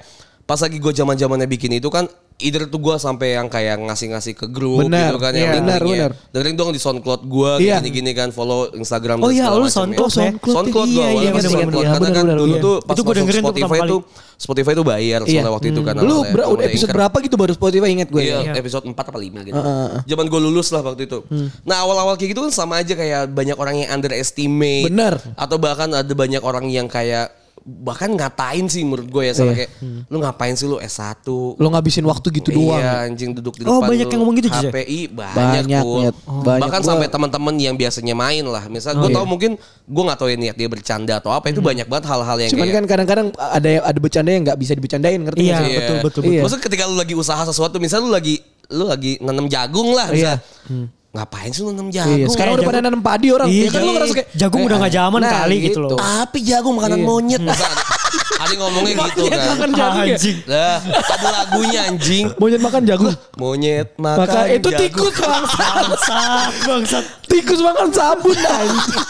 Speaker 2: pas lagi gue zaman zamannya bikin itu kan either tuh gue sampai yang kayak ngasih-ngasih ke grup
Speaker 4: Benar,
Speaker 2: gitu kan
Speaker 4: iya.
Speaker 2: yang
Speaker 4: Benar,
Speaker 2: link-linknya.
Speaker 4: benar.
Speaker 2: dengerin dong di SoundCloud gue
Speaker 4: Iya.
Speaker 2: gini-gini kan follow Instagram
Speaker 3: Oh
Speaker 2: dan
Speaker 3: iya,
Speaker 2: segala
Speaker 3: lu
Speaker 2: macam ya.
Speaker 3: SoundCloud ya?
Speaker 2: SoundCloud, SoundCloud
Speaker 3: Iya,
Speaker 2: gue
Speaker 3: iya,
Speaker 2: awalnya
Speaker 4: benar,
Speaker 2: SoundCloud
Speaker 4: benar,
Speaker 2: karena
Speaker 4: benar,
Speaker 2: kan
Speaker 4: benar,
Speaker 2: dulu
Speaker 4: iya.
Speaker 2: tuh pas
Speaker 3: Itu gua
Speaker 2: masuk
Speaker 3: dengerin tuh
Speaker 2: Spotify
Speaker 3: pertama kali.
Speaker 2: tuh Spotify tuh bayar soalnya waktu itu kan
Speaker 4: Hmm. Lu
Speaker 2: awalnya,
Speaker 4: bra-
Speaker 2: awalnya
Speaker 4: episode
Speaker 2: Anchor.
Speaker 4: berapa gitu baru Spotify inget gue.
Speaker 2: Iya,
Speaker 3: Iya.
Speaker 2: episode 4 apa 5 gitu.
Speaker 4: Heeh, heeh. Hmm.
Speaker 2: Zaman gue lulus lah waktu itu. Nah, awal-awal kayak gitu kan sama aja kayak banyak orang yang underestimate.
Speaker 4: Bener.
Speaker 2: Atau bahkan ada banyak orang yang kayak bahkan ngatain sih menurut gue ya sama
Speaker 4: Iya.
Speaker 2: kayak lu ngapain sih lu S1?
Speaker 4: Lu ngabisin waktu gitu doang.
Speaker 2: Iya, anjing duduk di
Speaker 3: Oh,
Speaker 2: depan.
Speaker 3: banyak
Speaker 2: lu.
Speaker 3: yang ngomong gitu, Jis, ya?
Speaker 2: HPI banyak,
Speaker 4: Banyak,
Speaker 2: Pur.
Speaker 4: Nyet. Oh. Banyak.
Speaker 2: Bahkan
Speaker 4: Gua- Oh, iya.
Speaker 2: sampai teman-teman yang biasanya main lah. Misal gue tau mungkin gue nggak tahu ya niat dia bercanda atau apa itu banyak banget hal-hal yang
Speaker 4: Hmm. Cuman
Speaker 2: kayak
Speaker 4: kan kadang-kadang ada ada bercanda yang nggak bisa dibercandain ngerti
Speaker 3: Iya,
Speaker 4: nggak sih?
Speaker 3: betul, betul,
Speaker 4: Iya.
Speaker 3: betul.
Speaker 2: Maksudnya ketika lu lagi usaha sesuatu, misal lu lagi lu lagi nanam jagung lah, misal.
Speaker 4: Iya.
Speaker 3: Hmm.
Speaker 2: Ngapain sih lu nanam jagung?
Speaker 4: Iya, sekarang
Speaker 3: eh,
Speaker 4: udah
Speaker 3: jagung.
Speaker 4: pada nanam padi orang.
Speaker 3: Iya,
Speaker 4: Ya kan lu
Speaker 3: jagung.
Speaker 4: ngerasa kayak Nah,
Speaker 3: Jagung udah nggak zaman kali gitu loh.
Speaker 2: Tapi jagung makanan
Speaker 4: Iya.
Speaker 2: monyet. Misal ada, ada yang ngomongnya gitu
Speaker 4: Monyet
Speaker 2: kan.
Speaker 4: makan jagung ya?
Speaker 3: Anjing.
Speaker 2: Dah, ada lagunya anjing.
Speaker 4: Monyet makan jagung.
Speaker 2: Monyet makan
Speaker 4: Maka itu
Speaker 2: jagung.
Speaker 4: tikus bangsat.
Speaker 3: Bangsat, bangsat.
Speaker 4: tikus makan sabun anjing.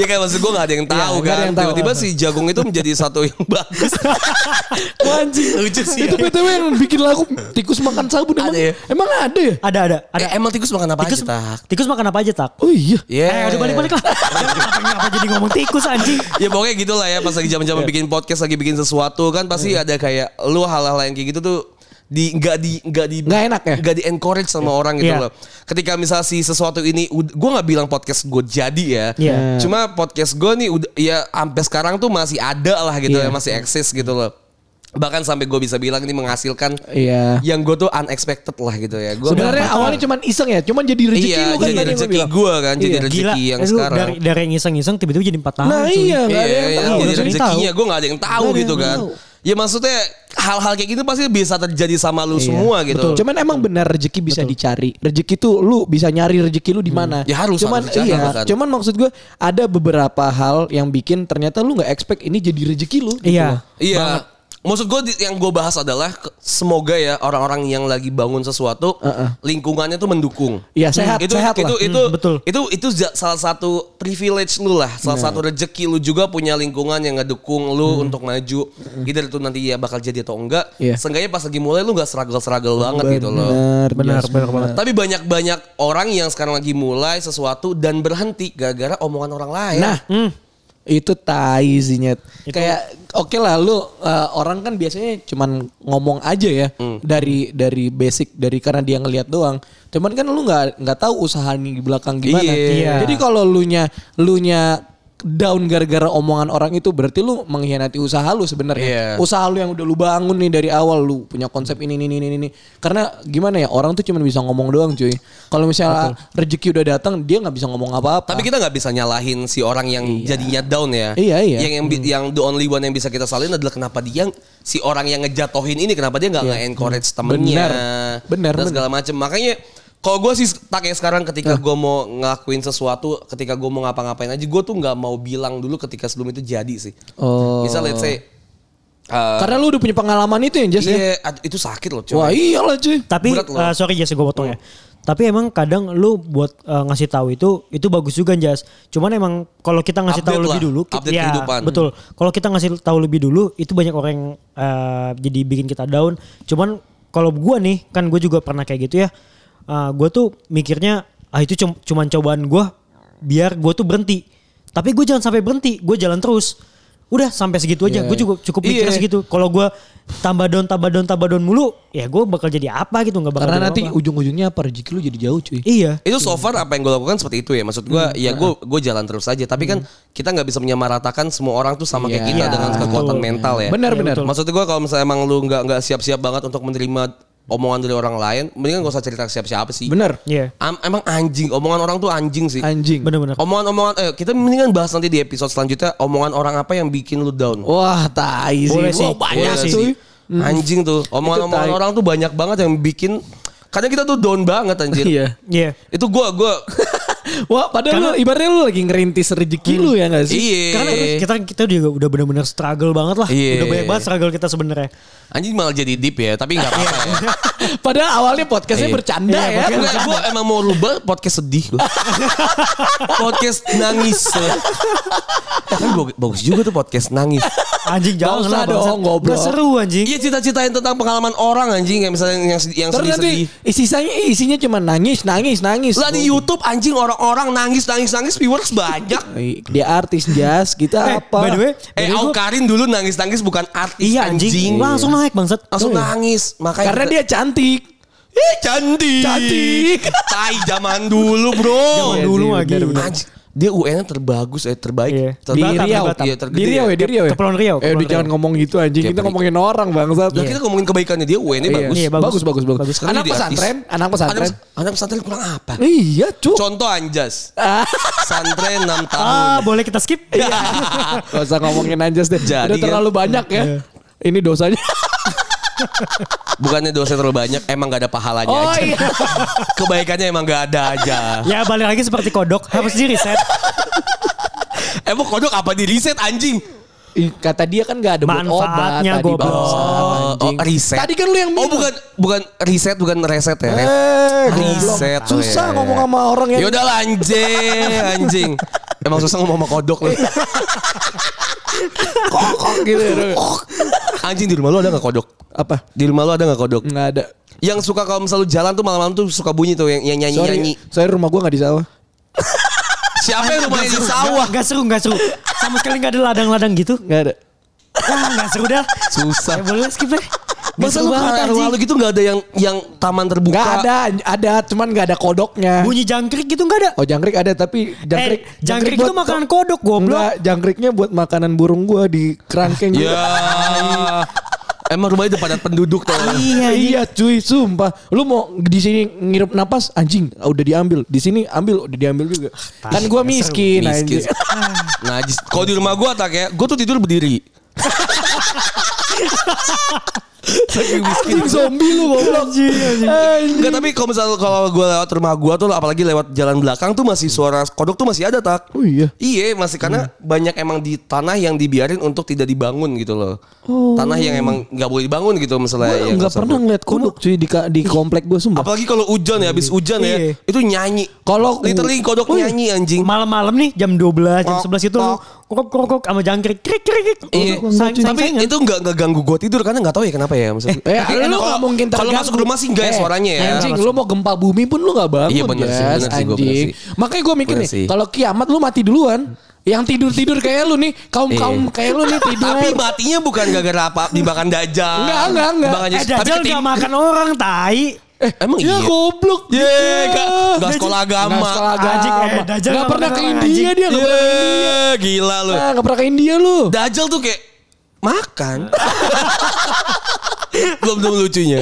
Speaker 2: Ya kan maksud gue gak ada yang tahu
Speaker 4: Iya, nggak ada
Speaker 2: kan.
Speaker 4: yang tahu.
Speaker 2: Tiba-tiba si jagung itu menjadi satu yang bagus.
Speaker 4: Anjing.
Speaker 2: Lucu sih.
Speaker 4: Itu
Speaker 2: ya.
Speaker 4: BTW yang bikin lagu tikus makan sabun emang
Speaker 2: Ada ya?
Speaker 4: emang ada ya?
Speaker 3: Ada ada ada.
Speaker 2: Eh, emang tikus makan apa
Speaker 3: tikus,
Speaker 2: aja, Tak?
Speaker 3: tikus makan apa aja tak?
Speaker 4: Oh iya.
Speaker 2: Yeah.
Speaker 3: Eh, aduh balik-balik lah. Kenapa- Kenapa jadi ngomong tikus anjing?
Speaker 2: ya pokoknya gitulah ya pas lagi zaman-zaman
Speaker 4: Iya.
Speaker 2: bikin podcast lagi bikin sesuatu kan pasti ada kayak lu hal-hal yang kayak gitu tuh di nggak di nggak di
Speaker 4: Nggak enak ya?
Speaker 2: nggak di encourage sama orang gitu
Speaker 3: Iya.
Speaker 2: loh ketika misal si sesuatu ini ud- gua nggak bilang podcast gue jadi ya
Speaker 3: Iya.
Speaker 2: cuma podcast gue nih udah ya sampai sekarang tuh masih ada lah gitu
Speaker 4: Iya.
Speaker 2: ya masih eksis gitu loh bahkan sampai gue bisa bilang ini menghasilkan
Speaker 4: Iya.
Speaker 2: yang gue tuh unexpected lah gitu ya Gua
Speaker 4: Sebenarnya
Speaker 2: nggak-
Speaker 4: awalnya cuman iseng ya, cuman jadi rezeki
Speaker 2: Iya,
Speaker 4: lu
Speaker 2: jadi
Speaker 4: kan tadi yang lu
Speaker 2: rezeki
Speaker 4: bilang.
Speaker 2: gua kan, jadi
Speaker 4: Iya.
Speaker 2: rezeki. yang
Speaker 3: Eh, lu
Speaker 2: sekarang.
Speaker 3: Dari, dari yang iseng-iseng tiba-tiba jadi 4 tahun.
Speaker 4: Nah,
Speaker 3: Ah, cuy.
Speaker 4: iya. Nggak
Speaker 2: Iya,
Speaker 4: ada yang
Speaker 2: iya,
Speaker 4: tahu.
Speaker 2: jadi
Speaker 3: Nggak ada yang
Speaker 2: rezekinya
Speaker 3: tahu.
Speaker 2: gue gak ada yang tahu
Speaker 4: Nggak ada
Speaker 2: gitu
Speaker 4: yang
Speaker 2: kan.
Speaker 4: tahu.
Speaker 2: Ya maksudnya hal-hal kayak gitu pasti bisa terjadi sama lu
Speaker 3: Iya,
Speaker 2: semua gitu.
Speaker 4: Iya, Betul. Cuman emang benar rezeki bisa dicari. Rezeki tuh lu bisa nyari rezeki lu di mana.
Speaker 2: Ya harus,
Speaker 4: Cuman
Speaker 2: harus dicari,
Speaker 4: iya.
Speaker 2: bahkan.
Speaker 4: Cuman maksud gue ada beberapa hal yang bikin ternyata lu nggak expect ini jadi rezeki lu. gitu loh.
Speaker 3: Iya.
Speaker 2: Iya. Maksud gue yang gue bahas adalah ke- semoga ya orang-orang yang lagi bangun sesuatu
Speaker 4: Uh-uh.
Speaker 2: lingkungannya tuh mendukung.
Speaker 4: Iya, sehat-
Speaker 2: itu,
Speaker 4: sehat
Speaker 2: itu,
Speaker 4: lah.
Speaker 2: Itu,
Speaker 3: Hmm, betul.
Speaker 2: itu itu ja- salah satu privilege lu lah, salah satu rezeki lu juga punya lingkungan yang ngedukung lu untuk maju. Either itu nanti ya bakal jadi atau enggak.
Speaker 4: Hmm. Iya.
Speaker 2: Seenggaknya pas lagi mulai lu nggak struggle-struggle banget gitu loh.
Speaker 4: Benar,
Speaker 3: Benar,
Speaker 4: Jas.
Speaker 3: benar banget.
Speaker 2: Tapi banyak-banyak orang yang sekarang lagi mulai sesuatu dan berhenti gara-gara omongan orang lain.
Speaker 4: Nah, itu tai sih Nyet. Kayak oke lah lu uh, orang kan biasanya cuman ngomong aja ya
Speaker 2: Hmm.
Speaker 4: dari dari basic dari karena dia ngelihat doang. Cuman kan lu nggak nggak tahu usaha nih di belakang gimana.
Speaker 3: Iya.
Speaker 4: Jadi kalau lu nya lu nya down gara-gara omongan orang itu berarti lu mengkhianati usaha lu sebenarnya.
Speaker 2: Iya.
Speaker 4: Usaha lu yang udah lu bangun nih dari awal lu punya konsep ini ini ini ini. ini. Karena gimana ya orang tuh cuman bisa ngomong doang cuy. Kalau misalnya rezeki udah datang dia nggak bisa ngomong apa-apa.
Speaker 2: Tapi kita nggak bisa nyalahin si orang yang jadinya down ya.
Speaker 4: Iya, iya.
Speaker 2: Yang yang, bi- yang the only one yang bisa kita salin adalah kenapa dia si orang yang ngejatohin ini kenapa dia nggak nge-encourage temennya.
Speaker 4: Iya. Benar. Benar,
Speaker 2: Dan
Speaker 4: benar.
Speaker 2: segala macem. Makanya kalau gue sih tak kayak sekarang ketika gue mau ngelakuin sesuatu, ketika gue mau ngapa-ngapain aja, gue tuh nggak mau bilang dulu ketika sebelum itu jadi sih.
Speaker 4: Oh.
Speaker 2: Misal let's say, uh,
Speaker 4: Karena lu udah punya pengalaman itu ya, Jas ya?
Speaker 2: iya, ad- itu sakit loh
Speaker 4: Wah
Speaker 2: coy.
Speaker 4: iyalah cuy.
Speaker 3: Tapi
Speaker 2: Berat Hmm, loh. Hmm.
Speaker 3: eh, sorry Jas gue potong ya. Tapi emang kadang lu buat eh, ngasih tahu itu itu bagus juga Jas. Cuman emang kalau kita ngasih tahu
Speaker 2: Update
Speaker 3: lebih
Speaker 2: lah,
Speaker 3: dulu, ki-
Speaker 2: update kehidupan.
Speaker 3: betul. Kalau kita ngasih tahu lebih dulu itu banyak orang yang eh, jadi bikin kita down. Cuman kalau gua nih kan gue juga pernah kayak gitu ya. Eh, gua tuh mikirnya ah itu cum- cuman cobaan gua biar gue tuh berhenti. Tapi gue jangan sampai berhenti, gue jalan terus. Udah sampai segitu aja.
Speaker 4: Iya.
Speaker 3: Gue juga cukup mikirnya
Speaker 2: Iya.
Speaker 3: segitu. Kalau gue tambah down, tambah down, tambah down mulu, ya gue bakal jadi apa gitu nggak bakal.
Speaker 4: Karena
Speaker 3: jadi
Speaker 4: nanti
Speaker 3: apa-apa.
Speaker 4: ujung-ujungnya apa rezeki lu jadi jauh cuy.
Speaker 3: iya.
Speaker 2: Itu
Speaker 4: Hmm.
Speaker 2: so far apa yang gue lakukan seperti itu ya. Maksud gue ya gue gue jalan terus aja. Tapi kan kita nggak bisa menyamaratakan semua orang tuh sama kayak
Speaker 4: Hmm. Iya,
Speaker 2: kita dengan kekuatan
Speaker 3: betul.
Speaker 2: mental ya.
Speaker 4: Benar,
Speaker 2: Iya,
Speaker 4: benar.
Speaker 2: betul. Maksud gue kalau misalnya emang lu nggak nggak siap-siap banget untuk menerima omongan dari orang lain, mendingan gak usah cerita ke siapa-siapa sih.
Speaker 4: Bener.
Speaker 3: Iya.
Speaker 2: Am- emang anjing, omongan orang tuh anjing sih.
Speaker 4: Anjing.
Speaker 3: Bener-bener.
Speaker 2: Omongan-omongan, eh, kita mendingan bahas nanti di episode selanjutnya omongan orang apa yang bikin lu down.
Speaker 4: Wah, tai Oh, sih.
Speaker 3: Boleh sih.
Speaker 4: Wah, banyak
Speaker 2: Iya
Speaker 3: Boleh
Speaker 4: cuy.
Speaker 2: sih. Anjing tuh. Omongan-omongan
Speaker 4: Itu tai.
Speaker 2: orang tuh banyak banget yang bikin kadang kita tuh down banget anjir.
Speaker 4: Iya.
Speaker 3: Iya.
Speaker 2: Itu gua gua
Speaker 4: Wah, padahal lu, ibaratnya lu lagi ngerintis rezeki lu ya gak sih?
Speaker 2: iya.
Speaker 3: Karena kita kan, kita juga udah benar-benar struggle banget lah.
Speaker 2: Iya.
Speaker 3: Udah banyak banget struggle kita sebenarnya.
Speaker 2: anjing malah jadi deep ya, tapi enggak apa-apa ya.
Speaker 4: Padahal awalnya podcastnya
Speaker 2: Iya.
Speaker 4: bercanda
Speaker 3: Iya,
Speaker 4: ya.
Speaker 3: podcast-
Speaker 2: Enggak, gua emang mau rubah podcast sedih gua. podcast nangis. Eh, Tapi bag- bagus juga tuh podcast nangis.
Speaker 3: Anjing jangan
Speaker 4: usah
Speaker 3: lah
Speaker 4: dong,
Speaker 3: bangsat.
Speaker 4: goblok.
Speaker 3: Nggak seru anjing.
Speaker 2: Iya cita-citain tentang pengalaman orang anjing kayak misalnya yang yang
Speaker 4: Terus nanti
Speaker 2: sedih-sedih.
Speaker 4: isinya isinya cuma nangis, nangis, nangis.
Speaker 2: Lah di YouTube anjing orang-orang nangis nangis nangis viewers banyak.
Speaker 4: Ih, Dia artis jazz, kita
Speaker 3: Eh,
Speaker 4: apa?
Speaker 3: by the way, by
Speaker 2: Eh,
Speaker 3: the way gua-
Speaker 2: Aukarin dulu nangis-nangis bukan artis
Speaker 3: Iya anjing, langsung naik bangsat.
Speaker 2: langsung
Speaker 3: Tuh ya.
Speaker 2: nangis makanya
Speaker 4: karena dia cantik.
Speaker 2: Ih, cantik
Speaker 4: Cantik.
Speaker 2: tai zaman dulu bro
Speaker 3: Zaman dulu
Speaker 4: Iya sih,
Speaker 3: lagi.
Speaker 4: benar-benar.
Speaker 2: Anjing, dia UN terbagus eh terbaik
Speaker 3: Iya.
Speaker 4: Di
Speaker 2: Terbatam,
Speaker 4: Riau,
Speaker 2: Batam. iya, tergede
Speaker 4: di Riau ya, di Riau ya.
Speaker 3: Kepulauan Riau,
Speaker 4: Eh, udah
Speaker 3: Kepulauan
Speaker 4: jangan
Speaker 3: Riau.
Speaker 4: ngomong gitu anjing, kita ngomongin orang bangsat.
Speaker 2: Lah, Nah, kita ngomongin kebaikannya dia UN nya
Speaker 4: Iya.
Speaker 2: bagus.
Speaker 4: Iya, bagus, bagus, bagus.
Speaker 3: Bagus.
Speaker 2: Karena
Speaker 4: Anak
Speaker 2: dia artis.
Speaker 4: pesantren, anak pesantren.
Speaker 2: Anak, anak pesantren kurang apa?
Speaker 4: Iya, cuk.
Speaker 2: Contoh anjas. Pesantren 6 tahun. Iya.
Speaker 3: Ah, boleh kita skip?
Speaker 4: iya. Gak usah ngomongin anjas deh.
Speaker 2: Jadi
Speaker 4: udah
Speaker 2: kan-
Speaker 4: terlalu banyak ya.
Speaker 3: Iya.
Speaker 4: Ini dosanya.
Speaker 2: Bukannya dosa terlalu banyak, emang gak ada pahalanya
Speaker 4: Oh,
Speaker 2: aja.
Speaker 4: iya.
Speaker 2: Kebaikannya emang gak ada aja.
Speaker 3: ya balik lagi seperti kodok harus di reset.
Speaker 2: Emang Eh, kodok apa di riset anjing?
Speaker 4: Ih, Kata dia kan gak ada buat obat
Speaker 3: Manfaatnya
Speaker 4: tadi
Speaker 3: goblok.
Speaker 4: bangsat,
Speaker 2: Oh,
Speaker 4: anjing.
Speaker 2: oh, riset.
Speaker 4: Tadi kan lu yang
Speaker 2: Oh
Speaker 4: minum.
Speaker 2: bukan bukan riset bukan reset ya. Res-
Speaker 4: Eh, goblok.
Speaker 2: riset. oh,
Speaker 4: Susah
Speaker 2: iya.
Speaker 4: ngomong sama orang yang
Speaker 2: Ya udah lah, anjing, anjing. Emang susah ngomong sama kodok
Speaker 4: Iya.
Speaker 2: lu.
Speaker 4: gitu.
Speaker 2: Anjing di rumah lu ada gak kodok?
Speaker 4: Apa?
Speaker 2: Di rumah lu ada gak kodok?
Speaker 4: Nggak ada.
Speaker 2: Yang suka kalau misalnya lu jalan tuh malam-malam tuh suka bunyi tuh yang yang
Speaker 4: Sorry,
Speaker 2: nyanyi-nyanyi.
Speaker 4: sorry rumah gua gak di sawah.
Speaker 2: Siapa yang rumahnya di
Speaker 3: Nggak-
Speaker 2: sawah?
Speaker 3: Nggak seru, nggak seru. Sama sekali nggak ada ladang-ladang gitu.
Speaker 4: Nggak ada.
Speaker 3: Ah, nggak seru dah.
Speaker 2: Susah.
Speaker 3: Ya boleh skip deh. Nggak
Speaker 2: Masa
Speaker 3: seru
Speaker 2: lu
Speaker 3: banget
Speaker 2: kalau
Speaker 3: anjing.
Speaker 2: rumah lu gitu gak ada yang yang taman terbuka?
Speaker 4: Nggak ada, ada cuman nggak ada kodoknya.
Speaker 2: Eh.
Speaker 3: Bunyi jangkrik gitu nggak ada.
Speaker 4: Oh jangkrik ada tapi jangkrik
Speaker 3: Eh, jangkrik itu
Speaker 4: buat-
Speaker 3: makanan kodok, goblok.
Speaker 4: Nggak, jangkriknya buat makanan burung gua di kerangkeng
Speaker 2: Ya.
Speaker 4: gua.
Speaker 2: Emang rumahnya udah padat penduduk tuh.
Speaker 3: Iya, anjing.
Speaker 4: Iya cuy, sumpah. Lu mau di sini ngirup napas anjing, ah, udah diambil. Di sini ambil, udah diambil juga.
Speaker 3: Ah,
Speaker 4: kan
Speaker 3: ya,
Speaker 4: gua miskin,
Speaker 2: Miskin.
Speaker 4: anjing.
Speaker 2: Nah, jis- kalau di rumah gua tak ya, gua tuh tidur berdiri. Saking miskin.
Speaker 4: Anjing zombie lu goblok.
Speaker 3: Anjing, anjing.
Speaker 2: Enggak tapi kalau misal kalau gue lewat rumah gue tuh apalagi lewat jalan belakang tuh masih suara kodok tuh masih ada tak.
Speaker 4: Oh iya.
Speaker 2: Iya masih karena banyak emang di tanah yang dibiarin untuk tidak dibangun gitu loh. Tanah yang emang nggak boleh dibangun gitu misalnya.
Speaker 4: Oh. Gua
Speaker 2: yang
Speaker 4: nggak
Speaker 2: rusak.
Speaker 4: pernah ngeliat kodok cuy di ka- di komplek gua sumpah.
Speaker 2: Apalagi kalau hujan ya, habis hujan ya,
Speaker 3: Iya.
Speaker 2: itu nyanyi.
Speaker 4: Kalau-
Speaker 2: literally kodok
Speaker 4: Oh iya.
Speaker 2: nyanyi anjing.
Speaker 3: Malam-malam nih jam 12, jam gitu,
Speaker 2: Kok,
Speaker 3: 11 itu
Speaker 2: kok.
Speaker 3: krok krok krok sama jangkrik krik krik krik.
Speaker 2: Iya,
Speaker 3: Kodok, saing-
Speaker 2: tapi
Speaker 3: saing-saingan.
Speaker 2: itu nggak nggak ganggu gue tidur karena nggak tahu ya kenapa ya maksudnya.
Speaker 4: Eh,
Speaker 2: Tapi
Speaker 4: lu
Speaker 2: enak
Speaker 4: nggak
Speaker 2: kalau-
Speaker 4: mungkin
Speaker 2: Kalau
Speaker 4: terganggu.
Speaker 2: masuk rumah sih nggak ya
Speaker 4: Eh,
Speaker 2: suaranya ya.
Speaker 4: Anjing, lu mau gempa bumi pun lu nggak bangun.
Speaker 2: Iya, bener sih,
Speaker 4: Jas,
Speaker 2: bener sih, gua bener
Speaker 4: anjing.
Speaker 2: sih.
Speaker 4: Makanya gue mikir
Speaker 2: Bener
Speaker 4: nih,
Speaker 2: sih.
Speaker 4: kalau kiamat lu mati duluan. Yang tidur-tidur kayak lu nih, kaum-kaum
Speaker 2: Iya.
Speaker 4: kayak lu nih tidur.
Speaker 2: Tapi matinya bukan gara-gara apa dimakan dajal.
Speaker 4: Enggak, enggak, enggak.
Speaker 2: Dimakan
Speaker 3: Eh,
Speaker 2: Dajjal. tapi
Speaker 3: Dajjal nggak
Speaker 2: ketim-
Speaker 3: makan orang, tai.
Speaker 2: Eh, emang
Speaker 4: ya
Speaker 2: iya.
Speaker 4: goblok. iya.
Speaker 2: Ye, enggak enggak
Speaker 3: Dajjal-
Speaker 2: sekolah Ah,
Speaker 4: Nggak
Speaker 2: agama. Iya,
Speaker 4: sekolah
Speaker 3: Anjing, eh,
Speaker 4: agama.
Speaker 3: Dajjal
Speaker 4: Nggak
Speaker 3: nggak
Speaker 4: pernah ke
Speaker 3: pernah
Speaker 4: India
Speaker 3: anjing.
Speaker 4: dia. nggak pernah-
Speaker 2: Ye, gila lu.
Speaker 4: Nah, Nggak pernah ke India lu.
Speaker 2: Dajal tuh kayak makan. Belum belum lucunya.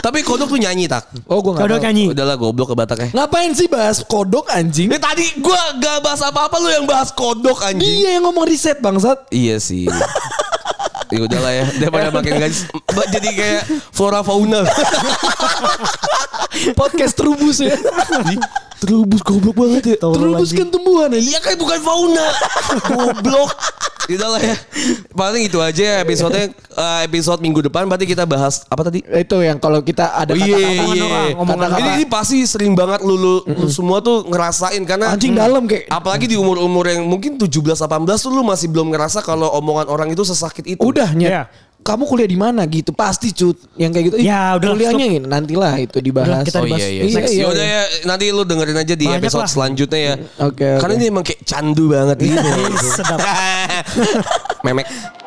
Speaker 2: Tapi kodok tuh nyanyi tak.
Speaker 4: Oh gue
Speaker 3: Kodok nyanyi.
Speaker 2: Udahlah goblok ke Bataknya.
Speaker 4: Ngapain sih bahas kodok anjing?
Speaker 2: Ini tadi gua gak bahas apa-apa lu yang bahas kodok anjing.
Speaker 4: Iya yang ngomong riset bangsat.
Speaker 2: Iya sih. ya udahlah ya, daripada makin guys jadi kayak flora fauna.
Speaker 4: Podcast terubus ya. terubus goblok banget ya.
Speaker 3: Tolol
Speaker 4: Terubus
Speaker 3: anjing.
Speaker 4: kan tumbuhan anjing.
Speaker 2: Iya kan bukan fauna. Goblok. Udah lah ya. Paling itu aja ya episode episode minggu depan berarti kita bahas apa tadi?
Speaker 4: Itu yang kalau kita ada
Speaker 2: Oh, iya,
Speaker 4: kata-kata
Speaker 2: iya.
Speaker 4: orang, omongan
Speaker 2: Ini,
Speaker 4: orang.
Speaker 2: ini pasti sering banget lu, lu, lu semua tuh ngerasain karena
Speaker 4: Anjing dalam kayak-
Speaker 2: apalagi di umur-umur yang mungkin 17 18 tuh lu masih belum ngerasa kalau omongan orang itu sesakit itu.
Speaker 4: Udahnya.
Speaker 3: Iya.
Speaker 4: kamu kuliah di mana gitu pasti cut yang kayak gitu Ih,
Speaker 3: Ya, udah,
Speaker 4: kuliahnya ini nantilah itu dibahas
Speaker 3: Udah, kita
Speaker 2: Oh
Speaker 3: dibahas.
Speaker 2: iya iya.
Speaker 4: Iya, iya,
Speaker 2: Yaudah ya nanti lu dengerin aja di
Speaker 3: Banyak
Speaker 2: episode
Speaker 3: lah.
Speaker 2: selanjutnya ya.
Speaker 4: Oke,
Speaker 2: Karena
Speaker 4: oke.
Speaker 2: ini emang kayak candu banget gitu.
Speaker 3: Sedap.
Speaker 2: Memek.